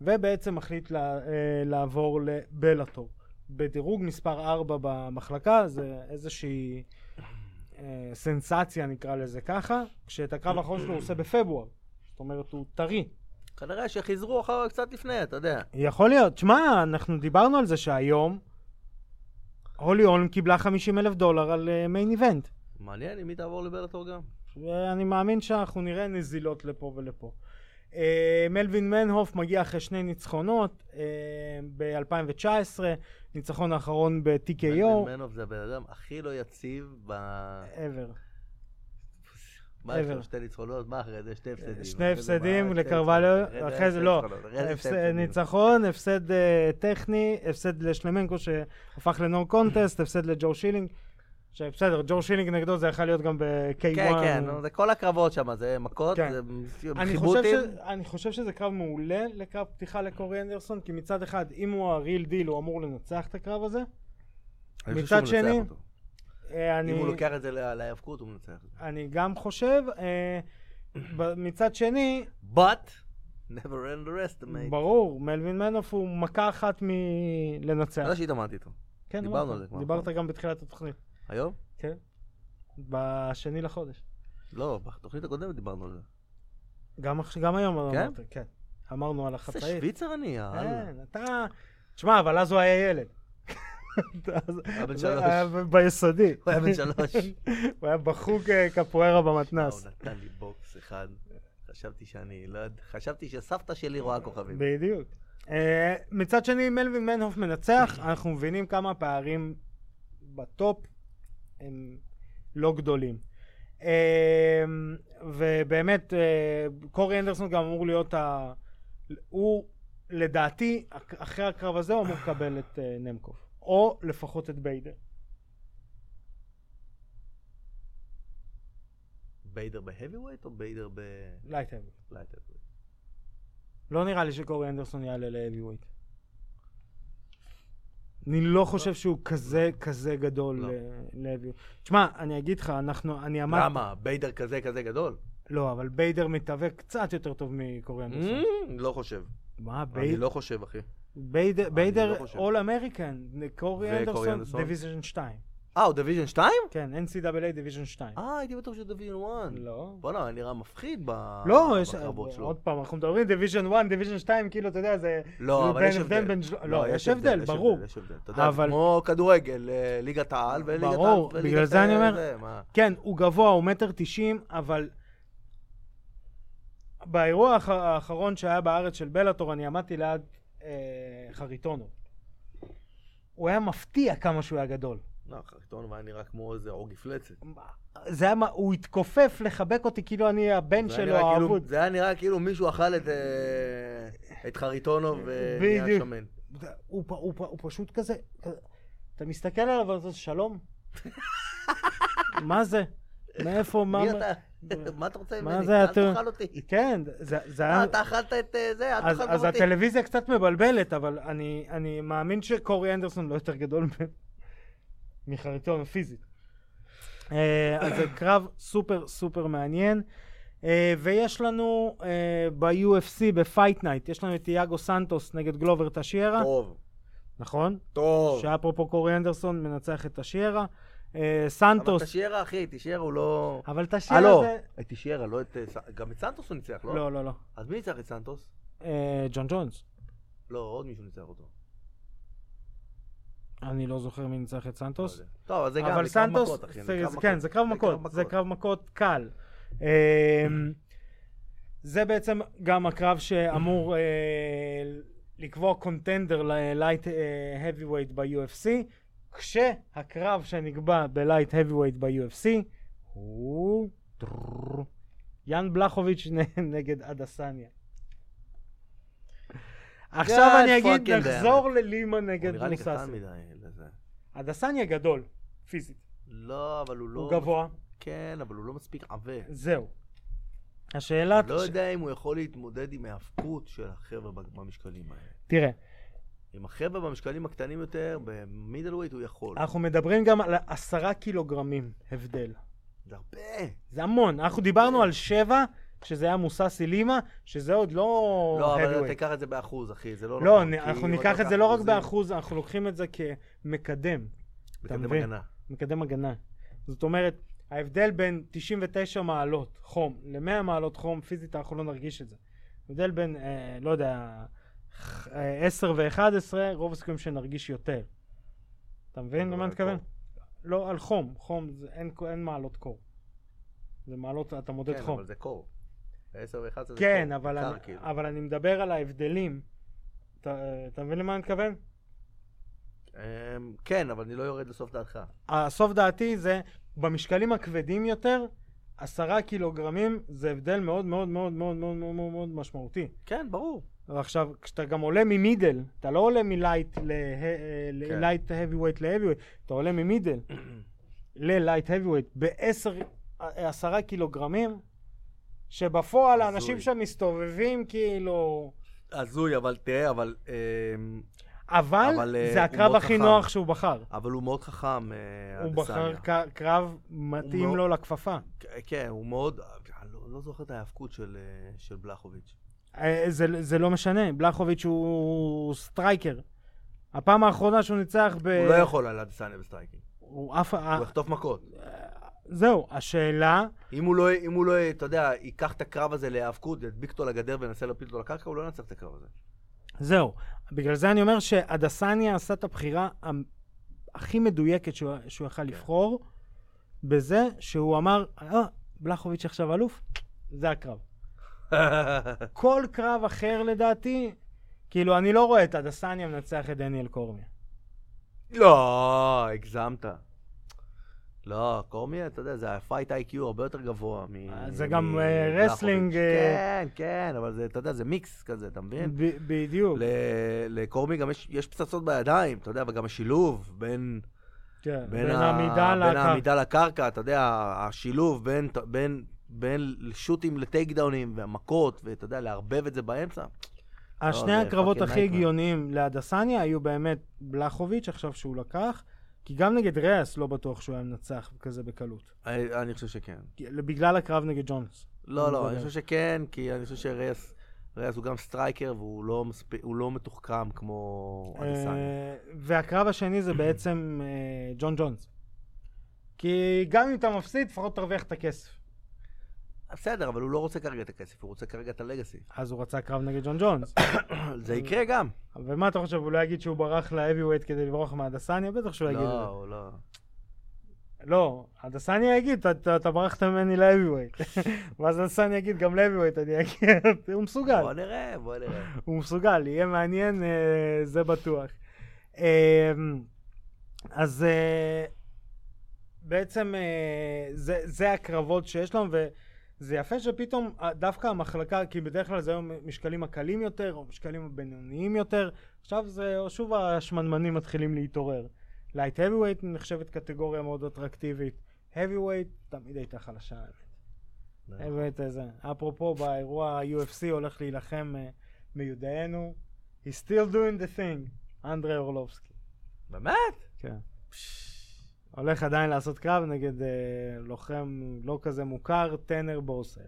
ובעצם מחליט לה, אה, לעבור לבלאטור. בדירוג מספר 4 במחלקה, זה איזושהי אה, סנסציה נקרא לזה ככה, כשאת הקרב האחרון שלו הוא עושה בפברואר. זאת אומרת, הוא טרי.
כנראה שחיזרו אחר קצת לפני, אתה יודע.
יכול להיות. תשמע, אנחנו דיברנו על זה שהיום הולי הולם קיבלה 50 אלף דולר על אה, מיין איבנט.
מעניין אם היא תעבור לבלאטור גם.
ואני מאמין שאנחנו נראה נזילות לפה ולפה. אה, מלווין מנהוף מגיע אחרי שני ניצחונות אה, ב-2019, ניצחון האחרון ב-TKO.
מלווין מנוף זה הבן אדם הכי לא יציב ב...
ever.
מה יש
ever.
לו? שתי ניצחונות? מה אחרי זה? שתי הפסדים.
שני
אחרי זה
הפסדים
מה? שתי
לקרבליו,
ניצחונות.
אחרי
זה
זה
שתי
לא.
ניצחונות. אחרי זה שתי
הפס-
הפסדים.
ניצחון, הפסד אה, טכני, הפסד לשלמנקו שהפך לנור קונטסט, הפסד לג'ו שילינג. שבסדר, ג'ו שילינג נגדו זה יכול להיות גם ב-K1.
כן, כן, נו, זה כל הקרבות שם, זה מכות,
כן.
זה
אני חושב,
חיבוטים.
ש... אני חושב שזה קרב מעולה לקרב פתיחה לקורי אנדרסון, כי מצד אחד, אם הוא הריל דיל, הוא אמור לנצח את הקרב הזה.
אני חושב שהוא
מצד שני,
מנצח אותו.
אה, אני,
אם הוא לוקח את זה לה- להיאבקות, הוא מנצח.
אני גם חושב, אה, ב- מצד שני,
But, never underestimate.
ברור, מלווין מנוף הוא מכה אחת
אתה
מלנצח.
יודע לא שהתאמנתי איתו.
כן,
דיברנו
אמרת.
על זה כבר,
דיברת
נכון?
גם בתחילת התוכנית.
היום?
כן. בשני לחודש.
לא, בתוכנית הקודמת דיברנו על זה.
גם, עכש- גם היום
כן?
אמרת, כן. אמרנו על
איזה
החצאית.
שוויצר אני, אה, יאללה.
כן, אתה... תשמע, אבל אז הוא היה ילד. [LAUGHS] אז-
היה בן
זה
שלוש.
היה ב- ביסודי.
הוא היה בן שלוש.
[LAUGHS] הוא היה בחוג אה, קפוארה
הוא
במתנ"ס.
נתן לי בוקס אחד. חשבתי שאני לא יודע, חשבתי שסבתא שלי רואה כוכבים.
בדיוק. אה, מצד שני, מלווין מנהוף מנצח, אנחנו מבינים כמה הפערים בטופ הם לא גדולים. אה, ובאמת, אה, קורי אנדרסון גם אמור להיות ה... הוא, לדעתי, אק- אחרי הקרב הזה הוא אמור לקבל את אה, נמקוב. או לפחות את ביידר.
ביידר בהאביווייט או ביידר ב...
לייטהם.
לייטר?
לא נראה לי שקורי אנדרסון יעלה ל-heavyweight. אני לא חושב שהוא כזה, כזה גדול
לא.
ל-heavyweight. תשמע, אני אגיד לך, אנחנו, אני אמרתי...
למה? ביידר כזה כזה גדול?
לא, אבל ביידר מתאבק קצת יותר טוב מקורי אנדרסון.
אמ, לא חושב.
מה,
אני
בייד-
לא חושב, אחי.
ביידר-
לא
ביידר
חושב.
אול אמריקן, קורי
וקורי
אנדרסון,
אנדרסון?
דיוויזיון 2.
אה, הוא דיוויז'ן 2?
כן, NCAA דיוויז'ן 2.
אה, הייתי בטוח שהוא דיוויז'ן 1.
לא.
בוא'נה, היה נראה מפחיד ב-
לא, יש...
בקרבות אה, שלו.
עוד פעם, אנחנו מדברים דיוויז'ן 1, דיוויז'ן 2, כאילו, אתה יודע, זה...
לא,
זה
אבל
בין
יש הבדל.
בין של- לא, יש הבדל, ברור.
יש הבדל, אתה יודע, זה
אבל-
כמו כדורגל, אה, ליגת העל וליגת העל.
ברור,
וליגת אה,
בגלל זה אני אומר-
זה, מה?
כן, הוא גבוה, הוא מטר תשעים, אבל... באירוע האח- האחרון שהיה בארץ של בלאטור, אני עמדתי ליד אה, חריטונו. הוא היה מפתיע כמה שהוא היה גדול.
לא, חריטון היה נראה כמו איזה עור מפלצת.
זה היה, מה- הוא התכופף לחבק אותי כאילו אני הבן
זה
שלו
היה נראה כאילו-
האבוד.
זה היה נראה כאילו מישהו אכל את, אה, את חריטונו ונהיה
בדיוק.
שמן.
הוא, פ- הוא, פ- הוא פשוט כזה, כזה- אתה מסתכל עליו ואתה אומר,
[LAUGHS]
שלום? מה זה? מאיפה, מה...
מי אתה? [LAUGHS] מה אתה רוצה
מה
ממני?
זה
אל
אתה-
תאכל אותי.
כן, זה, זה היה...
אה, אתה אכלת את אה, זה, אל
אז,
תאכל
אז
גם אותי.
הטלוויזיה קצת מבלבלת, אבל אני, אני מאמין שקורי אנדרסון לא יותר גדול מ- מחריטון פיזית. אה, אז זה קרב סופר סופר מעניין. אה, ויש לנו אה, ב-UFC, בפייט נייט, יש לנו את יאגו סנטוס נגד גלובר טשיירה,
טוב,
נכון?
טוב.
שאפרופו קורי אנדרסון מנצח את טשיירה. אה,
אבל
סנטוס,
תשיירה, אחי, תשיירה הוא לא...
אבל
אה,
טשיירה
לא,
זה...
את תשיירה, לא את... אה, ס- גם את סנטוס הוא ניצח, לא?
לא, לא, לא.
אז מי ניצח את סנטוס?
אה, ג'ון ג'ונס.
לא, עוד מישהו ניצח אותו.
אני לא זוכר מי ניצח את סנטוס.
לא יודע. טוב, אז זה גם,
אבל
זה קרב
סנטוס,
מכות, אחי,
זה-
קרב
זה- כן, זה קרב מכות, זה קרב מכות קל. אמ, זה בעצם גם הקרב שאמור אה, לקבוע קונטנדר ללייט אה, heavyweight ב-UFC, כשהקרב שנקבע בלייט heavyweight ב-UFC הוא טררר, יאן בלחוביץ' נ- [LAUGHS] נגד אדסניה. עכשיו
God
אני אגיד,
fucking damn it.
נחזור ללימה נגד
נראה לי קטן
מוססי.
מדי לזה.
אדסניה גדול, פיזית.
לא, אבל הוא לא...
הוא גבוה,
כן, אבל הוא לא מספיק עבה.
זהו. השאלה,
לא יודע אם הוא יכול להתמודד עם ההאבקות של החבר'ה במשקלים האלה.
תראה,
עם החבר'ה במשקלים הקטנים יותר, במידל ווייט הוא יכול.
אנחנו מדברים גם על עשרה קילוגרמים הבדל.
זה הרבה.
זה המון, אנחנו דיברנו על שבע, שזה היה מוססי לימה, שזה עוד לא...
לא, אבל
heavyweight.
תיקח את זה באחוז, אחי, זה לא
לא,
נכון, כי
אנחנו
אם אתה
ניקח את
לוקח
זה לא רק
אחוזים,
באחוז, אנחנו לוקחים את זה כמקדם,
מקדם
אתה מבין?
הגנה.
מקדם הגנה. זאת אומרת, ההבדל בין 99 מעלות חום ל-100 מעלות חום, פיזית אנחנו לא נרגיש את זה. ההבדל בין, אה, לא יודע, ח- אה, 10 ו-11, רוב הסיכויים שנרגיש יותר. אתה מבין למה
מדבר
אני
על
מתכוון?
קור.
לא, על חום. חום, זה, אין, אין מעלות קור. זה מעלות, אתה מודד
כן,
חום.
אבל זה קור. 10 ו-11 זה קור.
כן, אבל,
קר,
אני,
כאילו.
אבל אני מדבר על ההבדלים. אתה, אה, אתה מבין למה אני מתכוון?
אמ, כן, אבל אני לא יורד לסוף דעתך.
הסוף דעתי זה, במשקלים הכבדים יותר, עשרה קילוגרמים זה הבדל מאוד מאוד מאוד מאוד מאוד מאוד מאוד, מאוד משמעותי.
כן, ברור.
עכשיו, כשאתה גם עולה ממידל, אתה לא עולה מלייט
כן.
ללייט heavyweight להביווייט, אתה עולה ממידל ללייט heavyweight בעשר, אה, עשרה קילוגרמים, שבפועל
הזוי.
האנשים שם מסתובבים כאילו...
הזוי, אבל תראה, אבל... אמ,
אבל,
אבל, אה,
זה
הוא
הקרב
מאוד
הכי
חכם.
נוח שהוא בחר.
אבל הוא מאוד חכם, אה,
הוא בחר
אדסניה.
ק- קרב מתאים
מאוד-
לו לכפפה.
כ- כן, הוא מאוד... אני לא לא זוכר את ההאבקות של, אה, של בלחוביץ'.
אה, זה, זה לא משנה, בלחוביץ' הוא סטרייקר. הפעם האחרונה שהוא ניצח ב...
הוא לא יכול על אדסניה בסטרייקינג.
הוא עף...
הוא יחטוף מכות.
זהו, השאלה...
אם הוא לא, אם הוא לא, אתה יודע, ייקח את הקרב הזה להיאבקות, ידביק אותו לגדר וינסה להפיל אותו לקרקע, הוא לא ינצח את הקרב
[LAUGHS]
הזה.
זהו. בגלל זה אני אומר שהדסניה עשה את הבחירה ה- הכי מדויקת שהוא, שהוא יכל
כן.
לבחור, בזה שהוא אמר, אה, בלחוביץ' עכשיו אלוף, זה הקרב. כל קרב אחר לדעתי, כאילו, אני לא רואה את הדסניה מנצח את דניאל קורמיה.
לא, הגזמת. לא, קורמיה, אתה יודע, זה הפייט איי-קיו הרבה יותר גבוה מ...
זה גם,
מ-
אה,
בלחוביץ'.
רסלינג, אה,
כן, כן, אבל זה, אתה יודע, זה מיקס כזה, אתה מבין?
ב- בדיוק.
כן. ל- לקורמי גם יש, יש פצצות בידיים, אתה יודע, וגם השילוב בין,
כן,
בין,
בין
ה-
העמידה
בין
לקרב.
העמידה לקרקע, אתה יודע, השילוב בין, בין, בין שוטים לטייק דאונים והמכות, ואתה יודע, לערבב את זה באמצע.
השני
לא, זה
הקרבות
fucking
הכי
nightmare.
הגיוניים להדסניה היו באמת בלחוביץ' עכשיו שהוא לקח, כי גם נגד ריאס לא בטוח שהוא היה מנצח כזה בקלות.
אני, אני חושב שכן.
כי- בגלל הקרב נגד ג'ונס.
לא,
אני
לא,
בודק.
אני חושב שכן, כי אני חושב שריאס, ריאס הוא גם סטרייקר והוא לא, מספ... הוא לא מתוחכם כמו אדיסני.
אה, והקרב השני זה בעצם אה, ג'ון ג'ונס. כי גם אם אתה מפסיד, לפחות תרוויח את הכסף.
בסדר, אבל הוא לא רוצה כרגע את הכסף, הוא רוצה כרגע
[COUGHS]
את הלגאסי.
אז הוא רצה קרב נגד ג'ון ג'ונס. [COUGHS]
זה יקרה גם.
ומה אתה חושב, הוא לא יגיד שהוא ברח ל-heavyweight כדי לברוח מהדסניה? בטח שהוא יגיד את
לא,
זה.
הוא לא.
לא, הדסניה יגיד, "אתה- אתה אתה ברחת ממני ל-heavyweight. [LAUGHS] ואז הדסניה יגיד, גם ל-heavyweight אני אגיד. [LAUGHS] הוא מסוגל.
בוא נראה, בוא
[COUGHS]
נראה.
הוא מסוגל, יהיה מעניין, אה, זה בטוח. אה, אז אה, בעצם אה, זה, זה הקרבות שיש לנו, וזה יפה שפתאום אה, דווקא המחלקה, כי בדרך כלל זה היום משקלים הקלים יותר, או משקלים הבינוניים יותר, עכשיו זה שוב השמנמנים מתחילים להתעורר. לייט heavyweight נחשבת קטגוריה מאוד אטרקטיבית. heavyweight תמיד הייתה חלשה. heavyweight זה. אפרופו באירוע ה-UFC הולך להילחם אה, מיודענו. He's still doing the thing, אנדרי אורלובסקי.
באמת?
כן. הולך עדיין לעשות קרב נגד אה, לוחם לא כזה מוכר, טנר בוסר.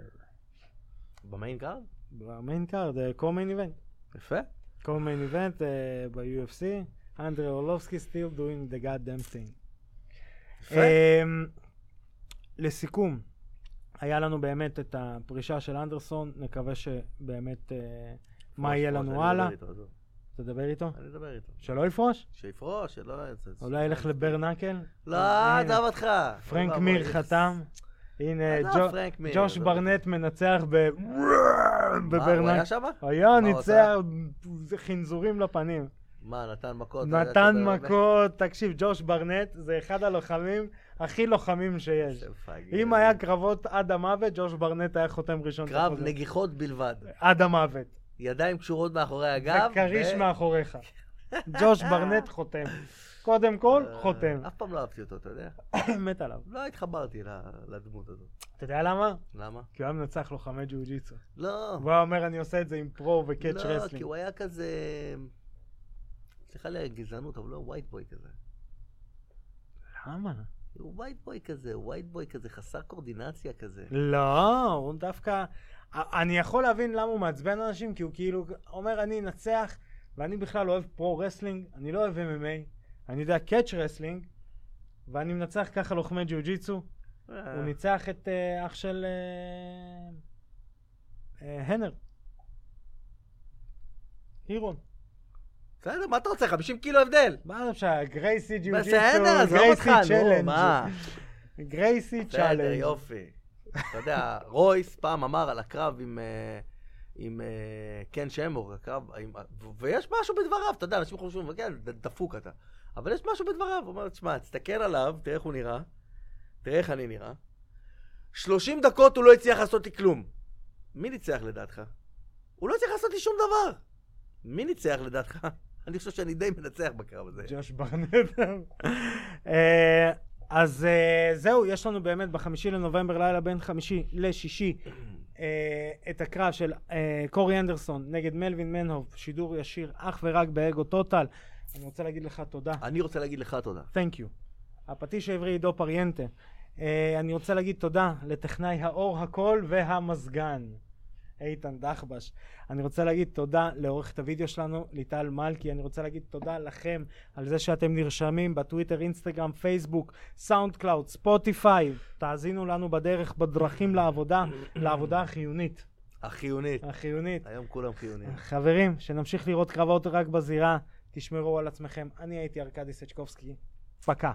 במיין קארד?
במיין קארד, אה, קומיין איבנט.
יפה.
קומיין איבנט ב-UFC, אנדרי אורלובסקי still doing the goddamn thing.
יפה.
אמ, לסיכום, היה לנו באמת את הפרישה של אנדרסון, נקווה שבאמת אה, מה יהיה
אני
לנו
אדבר
הלאה.
איתו, עזוב.
תדבר איתו?
אני אדבר איתו.
שלא יפרוש?
שיפרוש, שלא...
אולי ילך לברנקל?
לא,
אה,
עזוב אותך. לא,
פרנק
עזוב,
מיר
אוי,
חתם. הנה,
עזוב,
ג'ו-
לא, פרנק אה, מיר,
ג'וש
עזוב.
ברנט מנצח ב...
מה, הוא היה לא,
בברנק.
שם?
היה
מה הוא
ניצח חנזורים לפנים.
מה, נתן מכות?
נתן מכות, תקשיב, ג'וש ברנט זה אחד הלוחמים הכי לוחמים שיש. אם היה קרבות עד המוות, ג'וש ברנט היה חותם ראשון. את
קרב
החוזה.
נגיחות בלבד.
עד המוות.
ידיים קשורות מאחורי הגב.
וכריש
ו-
מאחוריך. ג'וש ברנט חותם. קודם כל,
אה,
חותם. [COUGHS]
אף פעם לא אהבתי אותו, אתה יודע?
מת עליו.
לא התחברתי ל- לדמות הזאת.
אתה יודע למה?
למה?
כי הוא היה מנצח לוחמי ג'ו-ג'יצו.
לא.
והוא היה אומר, אני עושה את זה עם פרו וקאץ'
לא, כי
רסלינג.
הוא היה כזה... סליחה לי הגזענות, אבל לא ווייט בוי כזה.
למה?
הוא ווייט בוי כזה, ווייט בוי כזה, חסר קורדינציה כזה.
לא, הוא דווקא... אני יכול להבין למה הוא מעצבן אנשים, כי הוא כאילו אומר, אני אנצח, ואני בכלל לא אוהב פרו-רסלינג, אני לא אוהב MMA, אני יודע קאץ' רסלינג, ואני מנצח ככה לוחמי ג'יוג'יצו. הוא ניצח את אה, אח של אה, אה, הנר. הירון.
בסדר, מה אתה רוצה? 50 קילו הבדל.
מה זה משנה? גרייסי ג'יוג'יצו,
בסדר, עזוב אותך,
גרייסי
נו,
צ'לנג'.
מה?
גרייסי
בסדר,
צ'לנג'.
יופי. אתה יודע, רויס פעם אמר על הקרב עם... אה, עם אה, קן שמור, הקרב, עם- ו- ויש משהו בדבריו, אתה יודע, אנשים חושבים, כן, ד- דפוק אתה. אבל יש משהו בדבריו, הוא אומר, תשמע, תסתכל עליו, תראה איך הוא נראה, תראה איך אני נראה. 30 דקות הוא לא הצליח לעשות לי כלום. מי ניצח לדעתך? הוא לא הצליח לעשות לי שום דבר. מי ניצח לדעתך? אני חושב שאני די מנצח בקרב הזה.
ג'וש ברנט. [LAUGHS] אה, אז אה, זהו, יש לנו באמת בחמישי לנובמבר, לילה בין חמישי לשישי, אה, את הקרב של אה, קורי אנדרסון נגד מלווין מנהוב, שידור ישיר אך ורק באגו טוטל. אני רוצה להגיד לך תודה.
אני רוצה להגיד לך תודה.
Thank you. הפטיש העברי עידו פריאנטה. אה, אני רוצה להגיד תודה לטכנאי האור הקול והמזגן, איתן דחבש. אני רוצה להגיד תודה לעורכת הוידאו שלנו, ליטל מלכי. אני רוצה להגיד תודה לכם על זה שאתם נרשמים בטוויטר, אינסטגרם, פייסבוק, סאונד קלאוד, ספוטיפיי. תאזינו לנו בדרך, בדרכים לעבודה, לעבודה החיונית.
החיונית.
אה. החיונית.
היום כולם חיוניים.
חברים, שנמשיך לראות קרבות רק בזירה. תשמרו על עצמכם. אני הייתי ארקדי סצ'קובסקי. פקע.